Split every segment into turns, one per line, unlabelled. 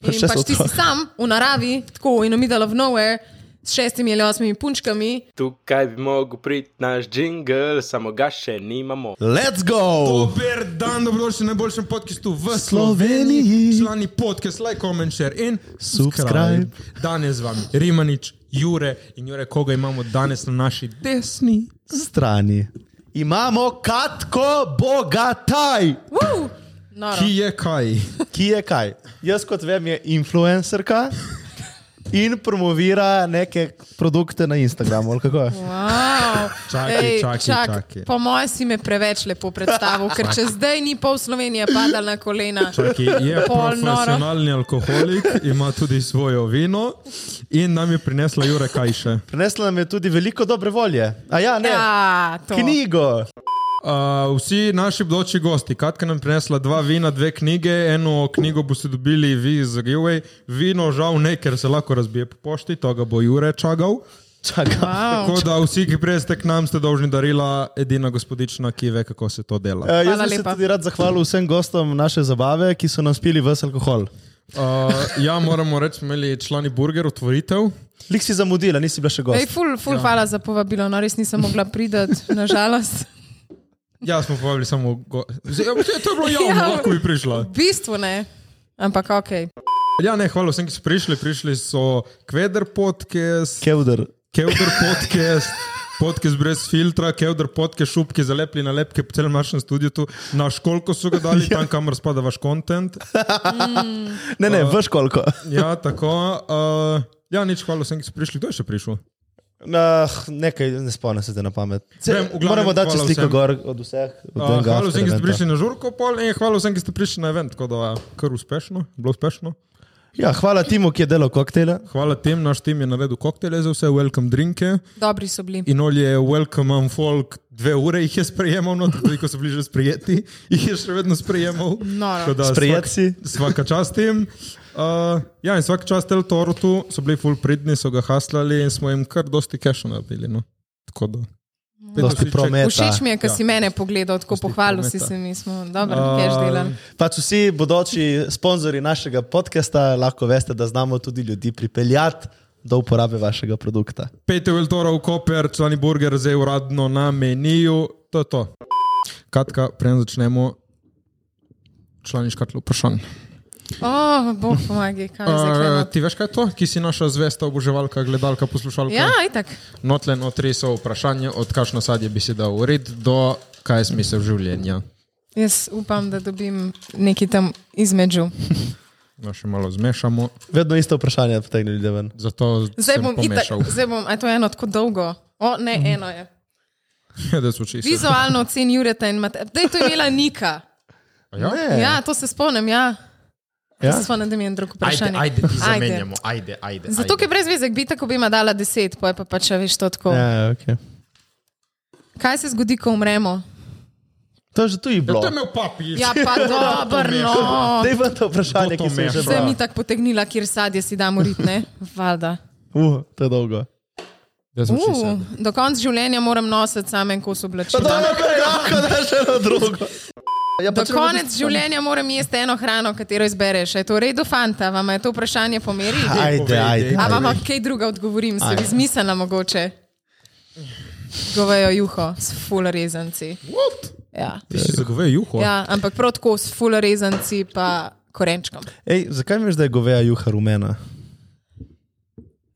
Pa
in
še
pač
so
ti si
otroci.
sam v naravi, tako in middle of nowhere, s šestimi ali osmimi punčkami.
Tukaj bi mogel priti naš jingle, samo ga še nimamo.
Let's go!
Dober dan, dobrodošli na najboljšem podkastu v
Sloveniji.
Sloveniji. Člani podcast, like, comment, share in subscribe. Danes z vami Rimanič, Jure in Jure, koga imamo danes na naši desni.
Strani. Imamo Katko Bogataj,
Woo! Noro.
Ki je kaj?
ki je kaj? Jaz kot vem, je influencerka in promovira neke produkte na Instagramu. ali kako je?
no, Wow.
Čakaj, čakaj,
čak,
čakaj.
Po mojem si me preveč lepo predstavil, ker če zdaj ni pol Slovenije padala na kolena.
Čaki, je
Pol noro.
profesionalni alkoholik, ima tudi svojo vino in nam je prinesla Jure kaj še.
Prinesla nam je tudi veliko dobre volje. A ja, ne,
Ja, to.
knjigo.
Uh, vsi naši bodoči gosti, Katka nam je prinesla dva vina, dve knjige, eno knjigo boste dobili vi za giveaway, vino žal ne, ker se lahko razbije po pošti, to ga bo Jure čakal.
Čakam.
Wow.
Tako da vsi, ki prijeste k nam, ste dolžni darila, edina gospodična, ki ve, kako se to dela.
Eh, Jaz
Hvala
bi se
lepa.
tudi rad zahvalil vsem gostom naše zabave, ki so nam spili ves alkohol.
Uh, ja, moramo reči, smo imeli člani burger, otvoritev.
Lik si zamudila, nisi bila
Ej,
še gost.
ful, ful, ja. hvala za povabilo, no res nisem mogla priti, nažalost.
Ja, smo povabili samo. Go... Zdaj, ja, to je bilo javno,
Ja.
ja. lahko bi
V
prišla.
bistvu ne, ampak ok.
Ja, ne, hvala vsem, ki so prišli. Prišli so Kveder podcast,
Kevdr.
Kevder podcast. Podcast brez filtra, kevdr podcast, šupke zalepili na lepke po celem našem studiu, tu na školko so ga dali, tam kamor spada vaš kontent.
Ne, ne, veš koliko.
Ja, tako. Uh, ja, nič, hvala vsem, ki so prišli. Kdo je še prišel?
Nah, nekaj ne spomnim se te na pamet. Se,
Vem,
Vem,
v glavnem,
moramo dati
hvala
sliko
vsem.
gor od vseh. od
Uh,
enega
hvala vsem, ki ste
after
prišli na žurko, pol in hvala vsem, ki ste prišli na event, tako da je kar uspešno, bilo uspešno.
eventa. Ja, hvala Timu, ki je delal koktejle.
Hvala tem, naš tim je naredil koktejle za vse, welcome drinke.
Dobri so bili.
In olje je welcome on folk, dve ure jih je sprejemal, no tudi ko so bili že sprejeti, jih je še vedno sprejemal.
Noro.
Tako da
Sprejet
svak-
si.
Svaka čast tem. Uh, ja, in svaka čast El Torutu, so bili full pridni, so ga haslali in smo jim kar dosti keša naredili. No. Tako da. Dajte
Dosti
vsi check-
prometa.
Všeč mi je, ker
Ja.
si mene pogledal, tako
Pusti
pohvalil si
prometa.
se mi, smo dobro,
A,
keš delali.
Pač vsi bodoči sponzori našega podcasta lahko veste, da znamo tudi ljudi pripeljati do uporabe vašega produkta.
Pejte v El Toro v Koper, člani burger zdaj uradno na meniju. To je to. Kratka, preden začnemo, člani škatlo vprašanj.
O, bog pomagaj, kaj je
Uh,
zdaj.
ti veš, kaj je to? Ki si naša zvesta oboževalka, gledalka, poslušalka.
Ja, itak.
Notle notri so vprašanje, od kakšno sadje bi si dal ured do kaj je smisel življenja.
Jaz upam, da dobim nekaj tam između.
No, še malo zmešamo,
Vedno isto vprašanje potegne ljudi ven.
zato
Zdaj
sem
bom, itak,
pomešal. Mm.
zdaj bom, a to je eno tako dolgo. O, ne, eno je.
da so čisto.
Vizualno ocen Jureta in Mateja. Dej, to je imela Nika.
Ja?
Ja, to se spomnim, ja.
Ja?
Ja? Se spomnim, da mi je en drug
Ajde,
vprašanje.
ajde, ti zamenjamo, ajde, ajde.
Zato,
ajde.
ker brez veze, bi tako bi ima dala deset, pa je pa pač, a veš, to tako. Ja.
Ja, okay.
Kaj se zgodi, ko umremo?
To je že tu je
Ja,
bilo.
to je imel papi.
Ja, pa dobro, no.
Dej ven to vprašanje,
Kdo
ki
to
sem že
meša?
Sem
bral.
mi tako potegnila, kjer sadje si damo ritne. Valjda.
Uh, to je dolgo.
Da sem čisto.
Uh, do konca življenja moram nositi samo en kos oblačila.
kar lahko daš eno drugo. Ja,
Do
pač
konca življenja moram jesti eno hrano, katero izbereš. A Je to v redu, fanta? Vam je to vprašanje po meri?
Ajde,
Povej,
ajde.
dej.
A
ajde.
vam kaj druga odgovorim, se
Ajde.
vi zmislila mogoče? Govejo juho s full rezanci. Ja.
Ti si zagovejo juho.
ja, ampak prav tako s full rezanci pa korenčkom.
Ej, zakaj misliš, da je goveja juha rumena?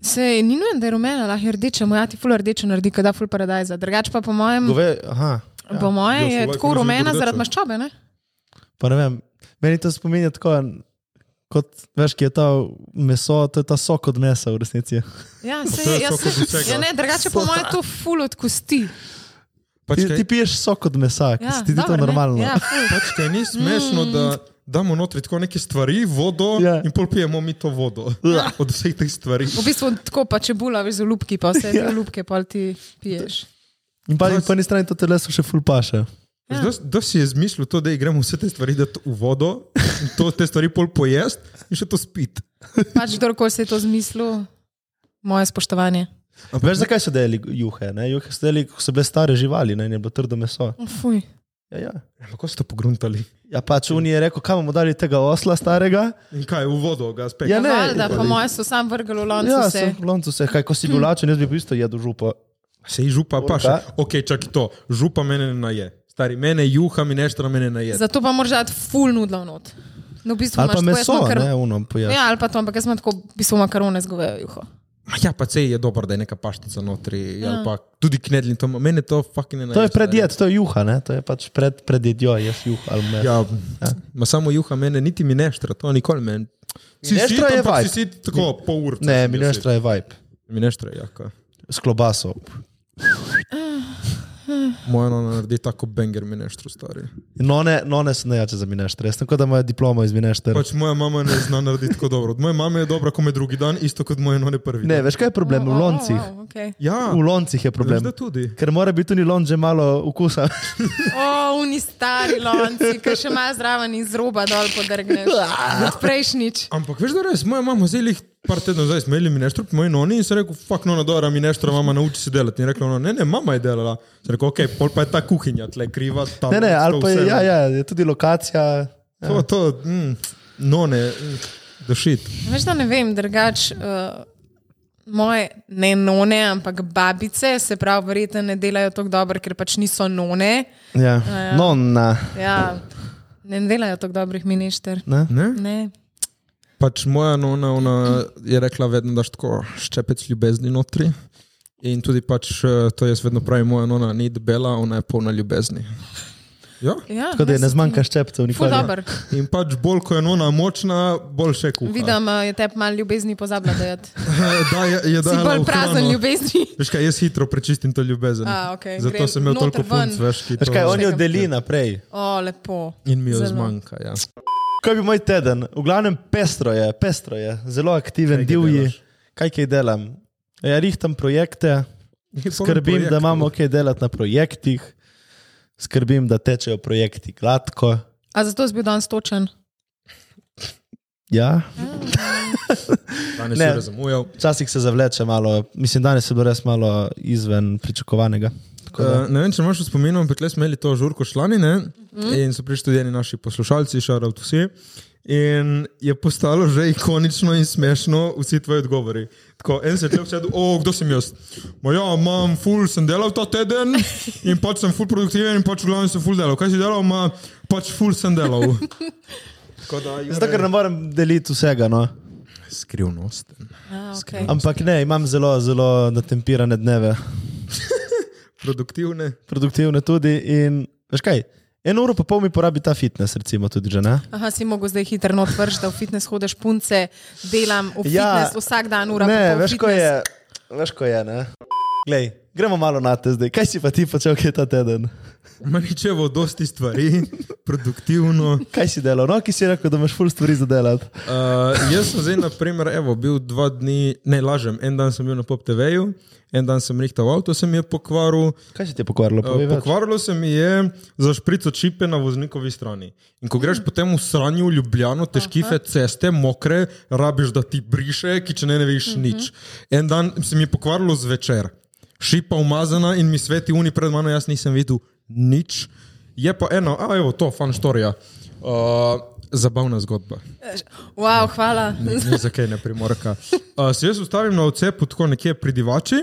Se ni nujno, da je rumena, lahko je rdeča, moja ti full rdeča naredi, kada full paradajza. Drugač pa po mojem,
Gove, aha,
ja, po mojem
Jaz
je
lahko
tako
nisem
rumena
bil
zaradi
rdeča.
maščobe, ne?
pa ne vem. Meni to spominja tako, kot veš, ki je ta meso, to je ta sok od mesa v resnici.
Ja,
to
se,
je
jaz,
sok od vsega.
ja, ne, drugače po mojem to full od kosti.
Pač,
Ti,
kaj-
ti piješ sok od mesa, ki
Ja,
se ti zdi to
dobro, ne?
normalno.
Ja, ful.
Pač kaj ni
Mm.
smešno, da damo notri tako neke stvari, vodo
Ja.
in pol pijemo mi to vodo. Od vseh teh stvari.
V bistvu tako pa čebula, veš, z lupki, pa vse
Ja.
te lupke, pa ti piješ.
In pa,
Torej
po eni strani to telesu še ful paše.
Ja.
Zdaj da si je zmislil to, da gremo vse te stvari dati v vodo, in to, te stvari pol pojest in še to spit.
Pač kdorkoli se je to zmislil, moje spoštovanje.
Veš, zakaj so delali juhe? Ne? Juhe so delali, ko so bile stare živali, ne, ne bo trdo meso.
Fuj.
Ja, ja.
Ja, Kako ste to pogruntali?
ja pač Uni je rekel, kam bomo dali tega osla starega.
In kaj, v vodo ga spet?
Ja,
Ja,
ne.
ne, da, po mojem so sam vrgli v loncu
Ja,
vse.
sem v loncu se, kaj ko si bil lačen, jaz bi bil isto jedel župa.
Sej župa pa še.
Orka.
Ok, čakaj to. Župa mene ne naje. Stari, mene juha, mi neštra mene naje.
Zato pa moraš dati full nudlov not. No, v bistvu
Ali pa
imaš tako, jaz
meso,
imam kar-
ne, unom pojedi.
Ja, ali pa to, ampak jaz sem tako, v bistvu makarone z govejo juho.
Ma Ja, pa sej je dobro, da je neka paštica notri. Ja. Pa, tudi knedlin, to, mene to fucking ne naje.
To je
stari.
predjed, to je juha, ne? to je pač pred, predjedjo, jaz juha ali meso.
Ja, ma samo juha mene, niti mi neštra, to nikoli meni. Si
Mineštra
sit,
je
ampak
vibe.
Si sit tako pol ure.
Ne, mi neštra je vibe.
Mi neštra je jaka.
S klobaso.
Moja nona naredi tako banger mi neštra, stari.
No, ne, no, ne, so nejače za mi neštra. Jaz sem kot da imajo diplomo iz mi neštra.
Pač moja mama ne zna narediti tako dobro. Od moje mame je dobra, ko me drugi dan, isto kot moje none prvi.
Ne,
dan.
veš kaj je problem? V loncih.
Oh, oh, okay.
Ja,
V loncih je
veš,
problem.
da tudi.
Ker mora biti tudi lonč že malo okusa.
oh, oni stari lonci, ki še malo zraven iz roba dol podrgneš. Od prejšnjič.
Ampak veš, da res, moja mama zdaj jih par tednov zdaj smeli mi neštrop, moj noni in sem rekel, fuck no, dobro, mi neštra, mama nauči se delati. In rekla, no, ne, ne, mama je delala. Sem rekel, ok, pol pa je ta kuhinja tle kriva. Tam,
Ne, ne, ali
to
pa je,
vse,
ja, ja, je tudi lokacija.
To, to, mm, no, ne, došit.
Veš, da ne vem, drugač. Uh, Moje ne none, ampak babice, se pravi, verjetno ne delajo tako dobro, ker pač niso none.
Ja. No, na.
Ja, ne delajo tako dobrih miništer.
Ne?
Ne?
Ne.
Pač moja nona ona je rekla, vedno daš tako ščepec ljubezni notri. In tudi pač, eh, to jaz vedno pravim, moja nona ni debela, ona je polna ljubezni. Ja.
Ja,
Tako da je ne zmanjka ščepcev,
Ful
nikoli.
dobro.
In pač bolj ko je nona močna, bolj še kuha.
Vidim, eh, je te malo ljubezni pozabila, da je ti
da je, je dala
no,
bolj
v
prazen
hrano.
ljubezni.
Veš kaj, jaz hitro prečistim to ljubezen.
A, okej,
Zato
gre
sem imel
noter
toliko
ven.
punc, veš, ki
Veš
to
kaj, on jo deli naprej.
O, lepo.
in mi jo
Zelo.
zmanjka. Ja.
Kaj bi moj teden? V glavnem pestro je, pestro je, zelo aktiven,
Kaj kaj
divji.
delaš?
Kaj kaj delam? Ja, rihtam projekte, skrbim, da imamo kaj delati na projektih, skrbim, da tečejo projekti gladko.
A zato si bil danes točen?
Ja,
Danes
Ne.
je zamujal.
včasih se zavleče malo, mislim, danes je bilo res malo izven pričakovanega. Tako da-
Uh, ne vem, če imaš v spominu, ampak le smo imeli to žurko šlani ne? in so prišli tudi eni naši poslušalci, šarav vsi. In je postalo že ikonično in smešno vsi tvoji odgovori. Tako, en se je tlev sedel, o, kdo sem jaz? Ma ja, imam ful, sem delal ta teden in pač sem ful produktiven in pač v glavnem sem ful delal. Kaj si delal? Ma, pač ful sem delal. Tako da, Jure-
Zato, ker ne morem deliti vsega. No.
Skrivnosten.
A, okay.
Ampak ne, imam zelo, zelo natempirane dneve,
Produktivne.
produktivne tudi. In, veš kaj, eno uro pa pol mi porabi ta fitness, recimo, tudi že ne.
Aha, si mogel zdaj hitro odvršiti, da v fitness hodiš punce, delam v
Ja.
fitness vsak dan, ura. pa
Ne,
pol
veš, ko
fitness.
je. Veš, ko je ne? Glej, gremo malo na te zdaj. Kaj si pa ti počel, kaj je ta teden?
Maničevo, dosti stvari, produktivno.
Kaj si delal? No, ki si rekel, da imaš full stvari za delati.
Uh, jaz sem zdaj, na primer, evo, bil dva dni, ne lažem, en dan sem bil na Pop TV-ju, en dan sem rihtal avto, se mi je pokvaril.
Kaj si ti je pokvarilo?
Uh,
Povej več.
pokvarilo se mi je za šprico čipe na voznikovi strani. In ko greš potem v sranju, v ljubljeno, težkive ceste, mokre, rabiš, da ti briše, ki če ne, ne veš nič. En dan se mi je pokvarilo zvečer, šipa umazana in mi sveti uni pred mano, jaz nisem videl nič. Je pa ena, a evo, to, fan storija. Uh, zabavna zgodba.
Wow, hvala.
Ne, ne, zakaj ne primorka. Uh, se jaz ustavim na odcepu, tako nekje pri divači.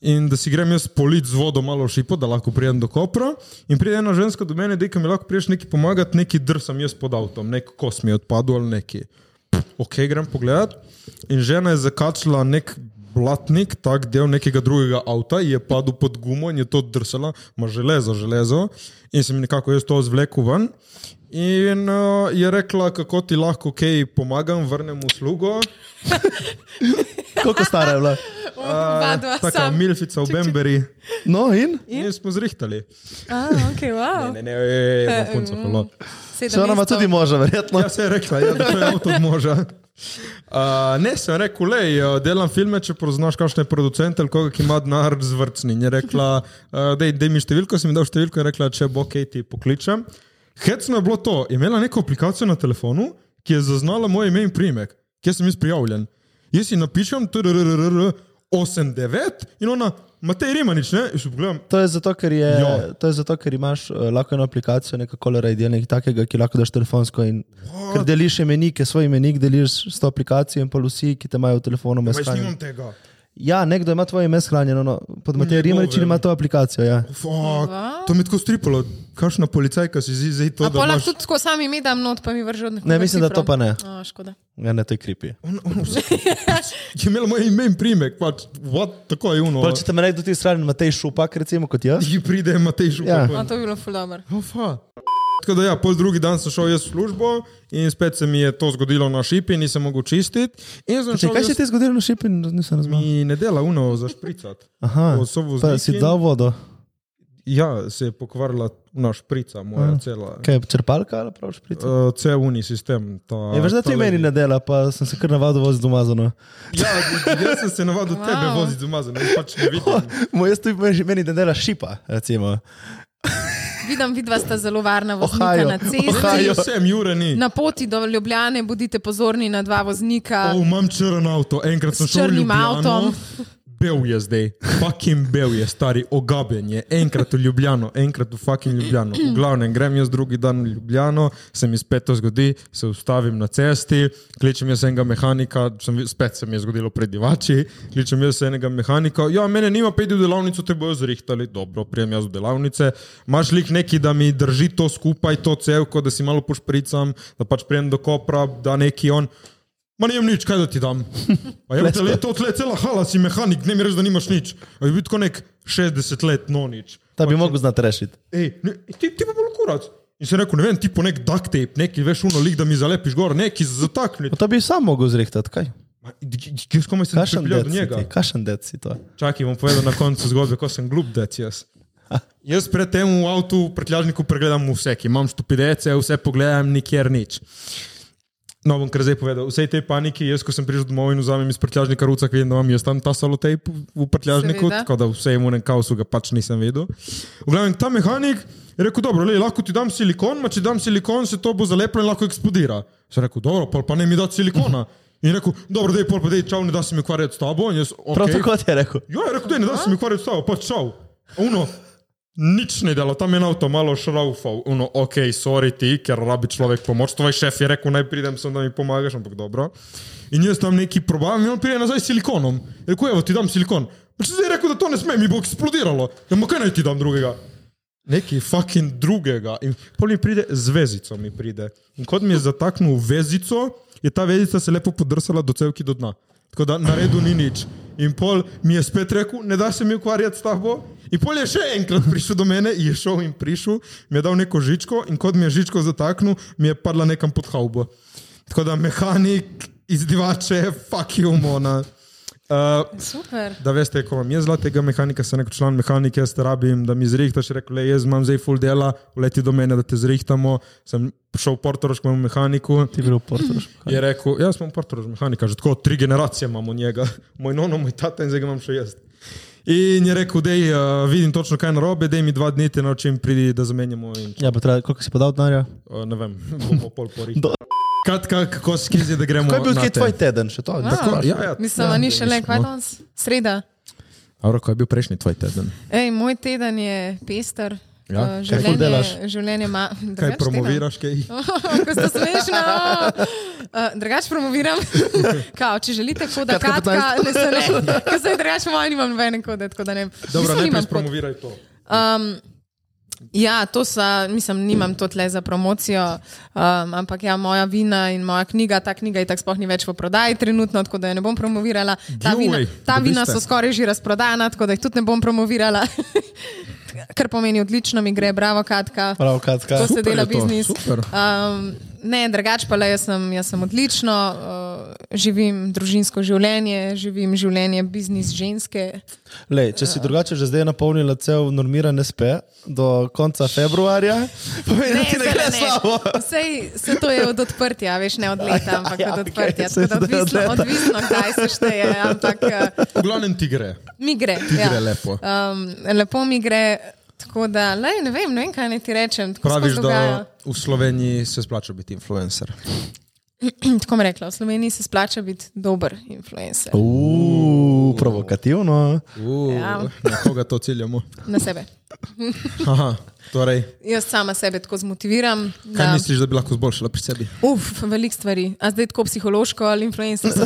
In da si grem jaz polit z vodo malo v šipo, da lahko pridem do kopra. In pride ena ženska do mene, da mi lahko priješ neki pomagati, neki drsam jaz pod avtom, nek kos mi je odpadel ali neki. Ok, grem pogledat. In žena je zakačila nek blatnik, tak del nekega drugega avta, ji je padel pod gumo in je to drsala, ima železo, železo. In sem nekako jaz to zvlekel ven. In uh, je rekla, kako ti lahko, ok, pomagam, vrnem uslugo.
Koliko stara je bila?
Vadva
Taka
sam.
milfica v Bemberi.
No, in?
In smo zrihtali.
A, okay, wow.
Ne, ne, ne, ne, ne, punca, hvala.
Sedem
Še ona ima
mesecev.
tudi moža, verjetno.
Ja, se je rekla, ja, da to je avto od moža. Uh, ne, sem rekel, le, delam filme, če poznaš kakšne producente ali koga, ki ima denar zvrcni. In je rekla, uh, da mi številko, sem ji dal številko in rekla, če bo ok, ti pokličem. Hecno je bilo to, je imela neko aplikacijo na telefonu, ki je zaznala moje ime in primek, kje sem jaz prijavljen. Jaz ji napišem, trrrr, 89 in ona, Matej Rimanič, ne? In še pogledam,
To je zato, ker, je,
Ja.
to je zato, ker imaš eh, lahko eno aplikacijo, neko Colorade, nekaj takega, ki lahko daš telefonsko in ker deliš imenike, svoj imenik deliš s to aplikacijo in pa vsi, ki te imajo v telefonu, imajo
več nimam
shranjeno.
tega.
Ja, nekdo ima tvoje ime shranjeno, no, pod Matej
Njegove.
Rimerič ima to aplikacijo. Ja.
Fuck, to mi je tako stripalo, kakšna policajka si zdi, zdaj to,
A
da
pola
imaš...
tudi tako sam ime dam not, pa mi vrže od nekoga.
Ne, mislim, da
cifro.
to pa ne.
A, škoda.
Ja, ne, to je kripi.
On, on, vse- pač je imel moje ime in primek, pač, what, tako je uno.
Pol, če te me nekdo ti shrani, Matej Šupak, recimo kot jaz.
Ti pride Matej Župan.
Ja.
A, to bi bilo ful dobro.
Ofa. Oh, Tako da, ja, pol drugi dan sem šel jaz v službo in spet se mi je to zgodilo na šipi, nisem mogel čistiti. In sem
Če
šel
kaj se
Ja, jaz,
ti je zgodilo na šipi, nisem razumel.
mi ne dela uno za špricati.
Aha,
Ko so
pa
vozniki-
si dal vodo.
Ja, se je pokvarila naš šprica, moja
Ja.
cela.
Kaj je črpalka ali prav šprica?
Uh, Ceuni sistem. Ta,
Je E, Ja, veš, da to
ta
meni ne dela, pa sem se kar navadil voziti domazano.
Ja, jaz sem se navadil wow.
Wow.
tebe voziti umazan, jaz pač ne vidim.
Moj jaz tudi meni ne dela šipa, recimo.
Vidim, vidva sta zelo varna voznika
Ohajo,
na cesti.
ohajo.
Ja, sem Jure ni.
Na poti do Ljubljane bodite pozorni na dva voznika.
O,
Oh.
Oh, imam črn avto, enkrat sem
S
šel v
črnim
Ljubljano.
avtom.
Bel je zdaj, fucking bel je, stari, ogaben je. Enkrat v Ljubljano, enkrat v fucking Ljubljano. V glavnem, grem jaz drugi dan v Ljubljano, se mi spet to zgodi, se ustavim na cesti, kličem jaz enega mehanika, sem, spet se mi je zgodilo pred divači, kličem jaz enega mehanika, ja, mene nima peti v delavnico, te bojo zrihtali, dobro, prijem jaz v delavnice, imaš lik neki, da mi drži to skupaj, to celko, da si malo pošpricam, da pač prijem do kopra, da neki on. Ma nijem nič, kaj da ti dam. A je tle, to tle cela hala, si mehanik, ne mi reči, da nimaš nič. A je bil tako nek 60 let, no nič.
Ta bi mogel znati rešiti.
Ej, ne, ti, ti pa bolj kurac. In sem rekel, ne vem, ti po nek duct tape, neki veš uno lik, da mi zalepiš gor, neki zatakni.
Pa To bi sam mogel zrihtati, kaj?
Kjer komaj sem se
Kašen
pripeljal
dec,
do
si
njega?
ti, kašen dec si to.
Čakaj, bom povedal na koncu zgodbe, ko sem glup, da jaz. Jaz predtem v avtu, v prtljažniku pregledam vse, ki imam štupidece, vse pogledam, nikjer nič. No, bom kar zdaj povedal. Vse te panike, jaz, ko sem prišel domov in vzamem iz prtljažnika rucak, vidim, da imam jaz tam ta salotejp v prtljažniku,
Seveda.
Seveda. tako da vse je v enem kaosu, ga pač nisem vedel. V glavnem, ta mehanik je rekel, dobro, lej, lahko ti dam silikon, ma če dam silikon, se to bo zaleplo in lahko eksplodira. Sem rekel, dobro, pol pa ne mi da silikona. In je rekel, dobro, dej, pol pa dej, čau, ne da se mi ukvarjati s tabo. In jaz,
Prav
"Okej."
tako ti je rekel.
Ja, je rekel, da ne da se mi ukvarjati s tabo, pač šel. Uno, nič ne delo, tam je en avto malo šraufal. Uno, ok, sorry ti, ker rabi človek pomoč. Tvoj šef je rekel, naj pridem sem, da mi pomagaš, ampak dobro. In jaz tam neki probam in on pride nazaj s silikonom. Je Rekel, evo ti dam silikon. Pa če zdaj je rekel, da to ne sme, mi bo eksplodiralo. Ja, ma kaj naj ti dam drugega? Neki fucking drugega. In pol mi pride z vezico. Mi pride. In kot mi je zataknil vezico, je ta vezica se lepo podrsala do celki do dna. Tako da na redu ni nič. In pol mi je spet rekel, ne da se mi ukvarjati s tabo. In pol je še enkrat prišel do mene, je šel in prišel, mi je dal neko žičko in kot mi je žičko zataknil, mi je padla nekam pod haubo. Tako da mehanik, izdivače, fuck you, mona. Uh,
Super.
da veste, ko vam je zla tega mehanika, sem rekel, član mehanike, jaz te rabim, da mi zrihtaš, Je rekel, le jaz imam zdaj full dela, leti do mene, da te zrihtamo. Sem šel v portoroškem mehaniku.
Ti bi bil v Portorožu.
Je rekel, "Ja, jaz sem portoroš mehanika, že tako tri generacije imamo njega, moj nono, moj tata in zdaj ga imam še jaz. In je rekel, da uh, vidim točno kaj narobe, da mi dva dni te naučim, pridi, da zamenjamo in
Ja, pa treba, koliko si podal denarja?
uh, ne vem, bomo pol porih.
Do-
Kratka, kako skizi, da gremo.
Kaj je bil
No, na
kaj
te.
tvoj teden, še to?
Tako, ja, ja.
Ah, Mislim, da ni še le
no.
kaj danes. Sreda.
Avro, kaj je bil prejšnji tvoj teden?
Ej, moj teden je pester.
Ja,
Eh,
kaj ful delaš?
Življenje, življenje ima.
Kaj promoviraš, kaj?
Ko ste smešni, uh, drugač promoviram. Kao, če želite, koda
Katka
kratka, ne se ne. Ker se drugač po mojem nimam nobene kode, tako da ne.
Dobro,
Mislim, nimam
najprej
kod.
promoviraj to.
Um, ja, to sa, mislim, nimam to tle za promocijo, um, ampak ja, moja vina in moja knjiga, ta knjiga je tako sploh ni več v prodaji trenutno, tako da jo ne bom promovirala. Ta
Giveaway,
vina, ta vina
dobiste.
so skoraj že razprodana, tako da jih tudi ne bom promovirala. Kar pomeni, odlično mi gre, bravo, Katka.
Prav, Katka.
To se
Super
dela
je to,
biznis.
super.
Um, ne, drugač pa le, jaz sem, jaz sem odlično, uh, živim družinsko življenje, živim življenje biznis ženske.
Lej, če si drugače že zdaj napolnila cel normiran SP do konca februarja, pomeni, da ti ne
seveda
gre slabo.
Sej, se to je od odprtja, veš, ne od leta, ampak
ja,
ja, od
okej,
odprtja.
saj
Okay,
to je
tako
od
da odvisno,
leta.
odvisno, kdaj se šteje, ampak uh,
V glavnem ti gre.
mi gre.
Ti
ja.
gre lepo.
Um, lepo mi gre, tako da lej, ne, vem, ne vem, kaj naj ti rečem. Tako
Praviš,
se
da
dogaja.
v Sloveniji se splača biti influencer.
Tako mi je rekla, v Sloveniji se splača biti dober influencer.
Uuu. uh, provokativno.
Uh,
Ja.
Na koga to ciljamo?
na sebe.
Aha, torej,
Jaz sama sebe tako zmotiviram.
kaj
da-
misliš, da bi lahko zboljšala pri sebi?
Uf, veliko stvari. A zdaj tako psihološko ali influencersko.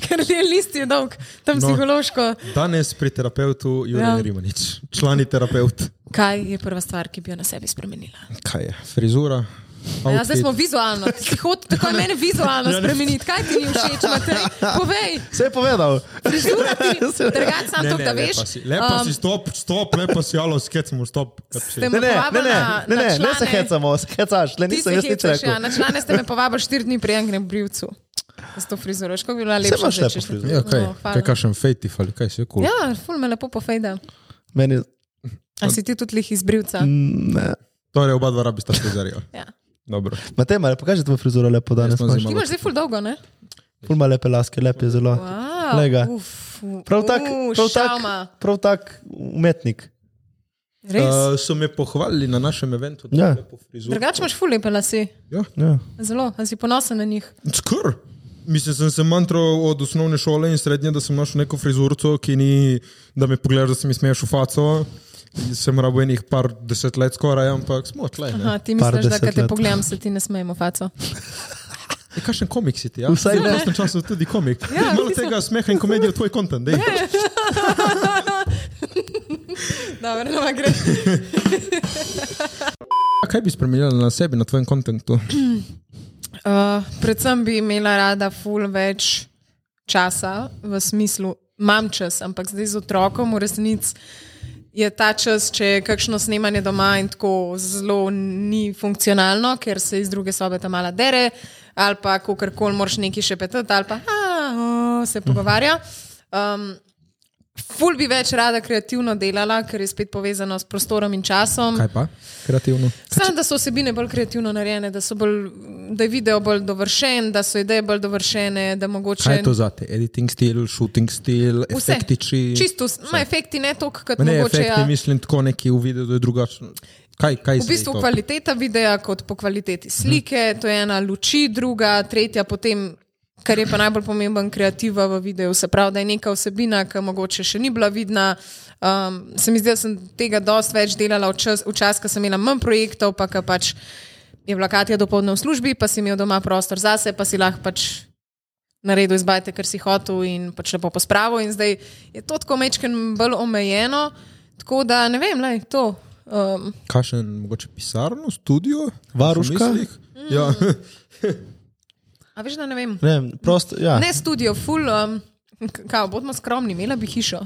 Ker je list je dolg, tam
No.
no. psihološko.
Danes pri terapeutu Jurek ja.
Ja.
Rimanič, člani terapeut.
Kaj je prva stvar, ki bi jo na sebi spremenila?
Kaj je? Frizura?
Ja, zdaj
outfit?
smo vizualno, hočete tako mene vizualno
Ja,
spremeniti. Kaj ti ni všeč, Matej? Povej,
Vse je povedal.
frizura ti
Ja,
ni. Drugač sam to, da veš.
lepa si, lepa um, si, stop, stop, lepa si, alo, skecamo, stop.
Ste
Ne, ne, ne, ne,
povabila
ne, ne,
na
ne se
člane-
hecamo, se hecaš, le
Ti
nisem
se
jaz nič
hecaš, ja,
rekel.
na člane ste me povabili štiri dni pri enem brivcu. Z to frizuro, škoda bi bila lepša.
imaš
zdaj,
lepo
če ste-
frizuro.
Ja, kaj,
No, hvala.
kaj kašem fejtif ali kaj se je kul.
Ja, ful me lepo pofejda.
Meni,
A si ti tudi lih iz brivca?
Mm. ne.
Torej, oba dva rabista frizarja.
Ja.
Dobro.
Matej, mali, pokaži tvojo frizuro lepo danes.
Jaz imam zima-
Ti imaš zdaj ful dolgo, ne?
Pulma lepe laske, lep je zelo.
Wow,
Glej ga.
Uf, uf,
Prav tak,
uf,
prav tak,
šalma.
prav tak umetnik.
Res.
Eh,
Uh,
Uh, so me pohvalili na našem eventu, da
Ja.
ja. lepo frizuro.
Drugač imaš ful lepe lase.
Ja.
Ja.
Zelo, a si ponosen na njih.
Skr. Mislim, sem se mantro od osnovne šole in srednje, da sem našel neko frizurco, ki ni, da me pogledaš, da se mi smeješ v faco. Sem rabo enih par deset let skoraj, ampak smo tle. ne.
Aha, ti
Par
misliš, da
deset
kad te
let.
pogledam, se ti ne smejemo, faco.
E, kakšen komik si ti? Ja?
Vsaj
Vsaj v
ne.
prostem času tudi komik. Ja,
Ja,
Malo
mislim. Ja,
tega smeha in komedije v tvoj kontent. daj.
Dobro, no, gre. ja.
Kaj bi spremenila na sebi, na tvojem kontentu?
Uh, predvsem bi imela rada ful več časa, v smislu, imam čas, ampak zdaj z otrokom v resnici je ta čas, če je kakšno snemanje doma in tako zelo ni funkcionalno, ker se iz druge sobe ta mala dere, ali pa ko karkoli moraš neki še petati, ali pa "A, o", se pogovarja. Um, ful bi več rada kreativno delala, ker je spet povezano s prostorom in časom.
Kaj pa? Kreativno.
Sam, da so vsebine bolj kreativno narejene, da, so bolj, da je video bolj dovršen, da so ideje bolj dovršene, da mogoče.
Kaj je to za te? Editing stil, shooting stil,
Vse.
efektiči.
Čisto, vse. ma efekti ne toliko, kot
Ma Ne,
mogoče.
efekti,
ja.
mislim tako neki v videu, da je drugačno. Kaj, kaj
V
zdaj
bistvu
to?
kvaliteta videa, kot po kvaliteti slike, to je ena luči, druga, tretja, potem, kar je pa najbolj pomemben, kreativa v videu. Se pravi, da je neka vsebina, ki mogoče še ni bila vidna. Um, se mi zdi, da sem tega dosti več delala včas, včas ko sem imela manj projektov, pa ki pač je bila Katja dopoledne v službi, pa si imel doma prostor zase, pa si lahko pač naredil izbajte, kar si hotel in pač lepo pospravil. In zdaj je to tako mečken bolj omejeno, tako da ne vem, lej, to. Um,
Kakšen, mogoče pisarno, studio?
Varuška?
V mislih? Ja.
Mm. a veš, da ne vem.
Ne, vem, prosto, ja.
Ne studio, full. Um, k- Kao, bodimo skromni, imela bi hišo.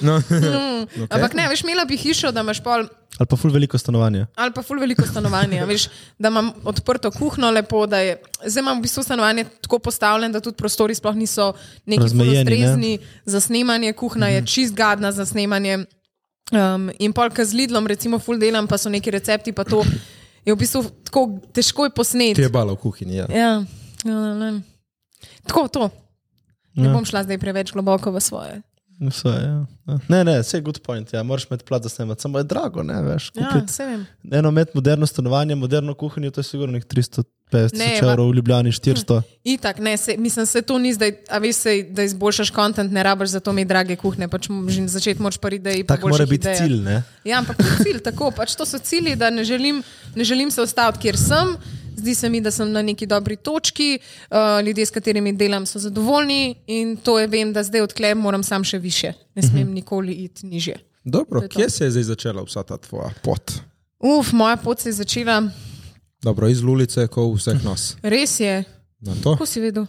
No.
Okay. Ampak ne, veš, imela bi hišo, da imaš pol,
Ali pa ful veliko stanovanja.
ali pa ful veliko stanovanja, veš, da imam odprto kuhno lepo, da je, zdaj imam v bistvu stanovanje tako postavljeno, da tudi prostori sploh niso neki ful
Razmejeni, ne?
ustrezni za snemanje, kuhna je čist gadna za snemanje. Um, in pol, kar z Lidlom, recimo, ful delam, pa so neki recepti, pa to je v bistvu tako težko je posneti.
Ti je bala v kuhinji, ja.
Ja, ja, ne, ne. Tako to. Ne
Ja.
bom šla zdaj preveč globoko v svoje.
Vse, ja. ja. Ne, ne, vse je good point. Ja. Moraš imeti plat, da snemati. Samo je drago, ne veš.
Ja,
Kupiti
se vem.
ja. eno med moderno stanovanje, moderno kuhinjo, to je sigurno nek 350
Ne, hm,
tisoč
ma-
evrov, v Ljubljani 400.
Itak, ne, se, mislim, se to ni zdaj, a veš, se, da izboljšaš kontent, ne rabiš za to mi drage kuhne, pač m- že na začetku moraš priti, da je
Tak mora biti cilj, ne?
Ja, ampak to je cilj, tako, pač to so cilji, da ne želim, ne želim se ostaviti, kjer sem. Zdi se mi, da sem na neki dobri točki, uh, ljudje, s katerimi delam, so zadovoljni in to je vem, da zdaj odklep moram sam še više. Ne smem
Mhm.
nikoli iti nižje.
Dobro,
je to.
kje se je zdaj začela vsa ta tvoja pot?
Uf, moja pot se je začela,
Dobro, iz ulice, ko vseh nas.
res je.
Na to
Kako si vedel?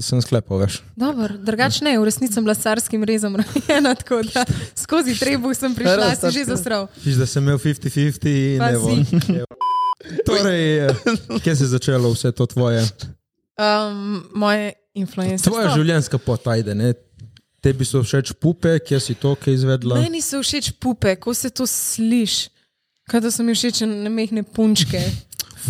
sem sklepal, veš.
Dobro, drugačne je, v resnici sem bila s carskim rezom rojena, tako da skozi trebuh sem prišla,
Res,
si že
tako.
zasral.
Viš, da sem imel 50-50 in
Pa
evo. Torej, eh, kje se je začelo vse to tvoje?
Um, moje influencerje.
Tvoja življenjska pot, ajde, ne? Tebi so všeč pupe, kje si to, kje izvedla?
Meni so všeč pupe, ko se to sliši. Kaj da so mi všeč ne mehne punčke.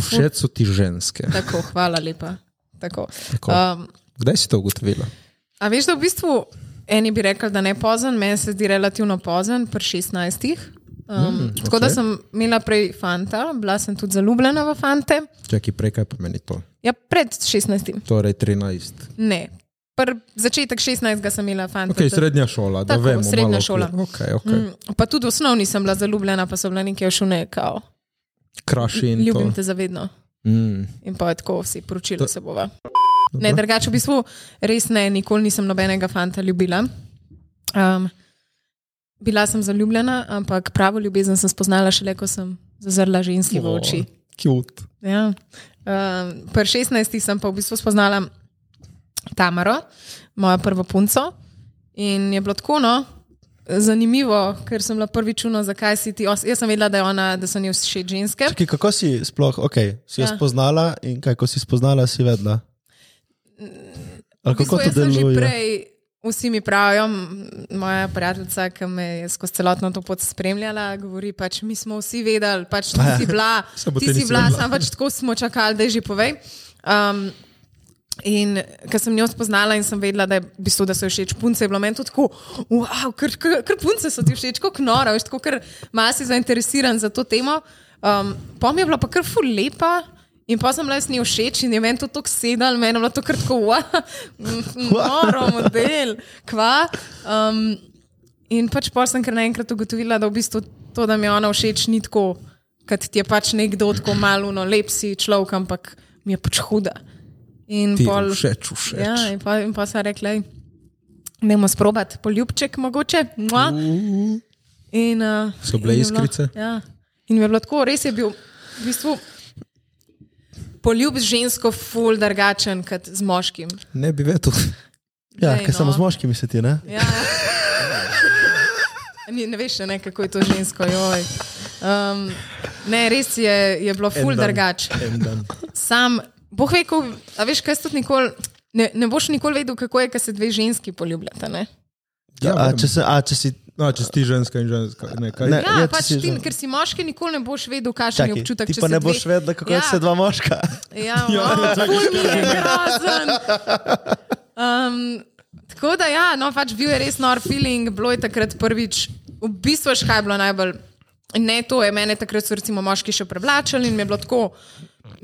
Všeč so ti ženske.
Tako, hvala lepa. Tako.
Tako.
Um,
Kdaj si to ugotovila?
a veš, da v bistvu eni bi rekli, da ne pozen, meni se zdi relativno pozen, pri 16. Um, mm, tako okay. da
okej.
sem imela prej fanta, bila sem tudi zaljubljena v fante.
Čakaj, prej kaj pomeni to?
Ja, pred 16.
Torej 13.
Ne. pr začetek 16. sem imela fanta.
Okay, srednja šola, da
Tako,
vemo.
srednja
malo
šola.
okvir. Okay, okay. Mm.
Pa tudi v osnovni sem bila zaljubljena, pa so bile neke šune, kao,
Kraši in
ljubim
to.
te zavedno.
Mm.
In pa je tako vsi poročili se bova.
Dobro.
Ne, drugače v bistvu res ne, nikoli nisem nobenega fanta ljubila. Um, bila sem zaljubljena, ampak pravo ljubezen sem spoznala šele, ko sem zazrla ženski v oči.
Cute.
Ja. Um, pri 16 sem pa v bistvu spoznala Tamaro, mojo prvo punco. In je bilo tako no, zanimivo, ker sem bila prvič čuno, zakaj si ti. Os jaz sem vedela, da je ona, da so nje všeč ženske.
Čakaj, kako si sploh, ok, si jo
Ja.
ja. spoznala in kaj, ko si spoznala, si vedela. Ali
V
kako
bistvu,
to
jaz sem že
deluje?
prej, vsi mi pravijo, m, moja prijateljica, ki me je skozi celotno to pot spremljala, govori pač, mi smo vsi vedeli, pač
ja,
ti si bila,
Samo
ti
te
si
nisi
bila,
vedela.
sam pač tako smo čakali, da je že povej. Um, In ko sem jo spoznala in sem vedela, da, je, v bistvu, da so ji všeč punce, je bilo meni to tako, wow, ker, ker, ker punce so ti všeč, kot nora, veš, tako ker malo si zainteresiran za to temo. Um, pa mi je bila pa kar ful lepa. In pa sem bila jaz njej všeč in je meni to tako sedel, meni je bilo to kar tako, wow, noro, model, kva. Um, in pač pa sem kar naenkrat ugotovila, da v bistvu to, da mi je ona všeč, ni tako, kot ti je pač nekdo tako malo, no, lep si človek, ampak mi je pač huda. In
Ti
pol,
všeč, všeč.
Ja, in pa, in pa sem rekla, da moramo sprobati poljubček, mogoče. Mua. In, uh,
So bile
in je bilo-
iskrice?
Ja. In mi je bilo tako, res je bil v bistvu poljub z žensko ful drugačen kot z moškim.
Ne bi vedel.
Ja,
Glej,
ker
no.
samo z moškimi se ti, ne?
Ja. Ni, ne veš, še ne, kako je to žensko. joj. Um, ne, res je, je bilo ful drugače.
Ja,
Sam, boh ve, ko, a veš, kaj tudi nikoli. Ne, ne boš nikoli vedel, kako je, ko se dve ženski poljubljata. Ne?
Ja,
A
vem.
če, se, a, če si
A, če si ti ženska in ženska. Ne, kaj?
Ne.
Ne.
Ja,
Ja,
ja,
ti
pač
si-
ti, ker si moški, nikoli ne boš vedel, kakšen je
čakaj,
občutek.
ti
če
pa
se
ne
dve-
boš vedela, kako
ja,
ja. se dva moška.
Ja, ja, ja, grozen. Um, tako da, ja, no, pač bil je res nor feeling, bilo je takrat prvič, v bistvu veš, kaj je bilo najbolj. Ne, to je mene takrat so recimo moški še prevlačili in mi je bilo tako.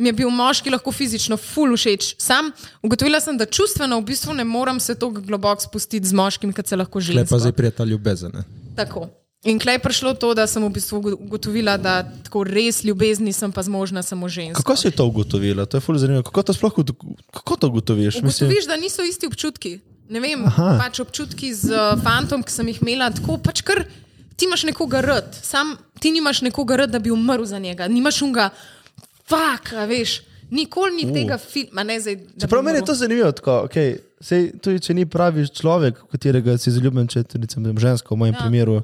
Mi je bil moški lahko fizično ful všeč. Sam ugotovila sem, da čustveno v bistvu ne morem se tako globoko spustiti z moškim, kot se lahko
Le pa
žensko.
zdaj prijeta ljubezen. ne?
Tako. In klej je prišlo to, da sem v bistvu ugo- ugotovila, da tako res ljubezni sem pa zmožna samo ženska.
Kako si to ugotovila? To je ful zanimivo. Kako to sploh ugo- kako to ugotoviš? Mislim,
Ugotoviš, da niso isti občutki. Ne vem, Aha. pač občutki z eh, fantom, ki sem jih imela, tako pač kar ti imaš nekoga rad, sam ti nimaš nekoga rad, da bi umrl za njega, nimaš unga, fuk, a veš. Nikoli ni uh. tega filma, ne zdaj. da bi
Čeprav meni je
umrl.
to zanimivo, tako, okay, sej, tudi če ni pravi človek, v katerega si zaljubljen, če je recimo ženska v mojem ja. primeru,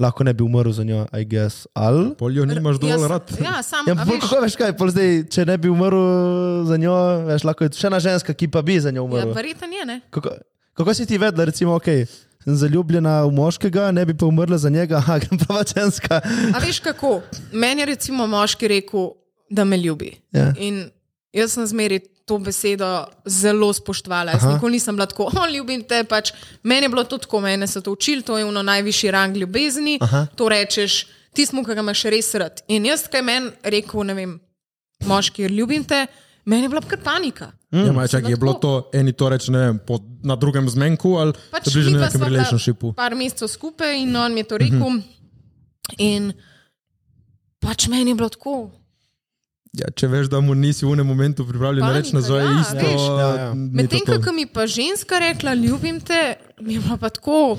lahko ne bi umrl za njo, I guess. Al?
Poljo nimaš dovolj
Jaz-
rad.
Ja, sam,
Ja,
a
bolj,
veš,
kako veš kaj, pol zdaj, če ne bi umrl za njo, veš, lahko je še ena ženska, ki pa bi za njo
ja,
umrl.
verjetno je, ne?
Kako, kako si ti vedela, recimo, ok, sem zaljubljena v moškega, ne bi pa umrla za njega, aha, grem prava ženska.
A veš kako? Meni je recimo moški rekel, da me ljubi.
Ja.
In jaz sem zmeri to besedo zelo spoštovala. Jaz
Aha.
nikoli nisem bila tako, o, ljubim te. Pač. Meni je bilo to tako, mene so to učili, to je ono najvišji rang ljubezni. Aha. To rečeš tismu, ki ga imaš res rad. In jaz, kaj meni rekel, ne vem, moški, ljubim te, meni je bila kar panika.
Mm, ja, maj, čak, je bilo
lahko.
to, eni to reče, ne vem, po, na drugem zmenku ali pač
pač
bližnjem
midva
nekem
sva bila
relationshipu.
Par mesecev skupaj in on mi je to rekel. Mm -hmm. In pač meni je bilo tako.
Ja, če veš, da mu nisi v enem momentu pripravljen
Panika,
reči nazaj,
ja,
isto.
veš.
Ja, ja.
ni to
Medtem,
to.
ko ko mi pa ženska rekla, ljubim te, mi je bilo pa tako.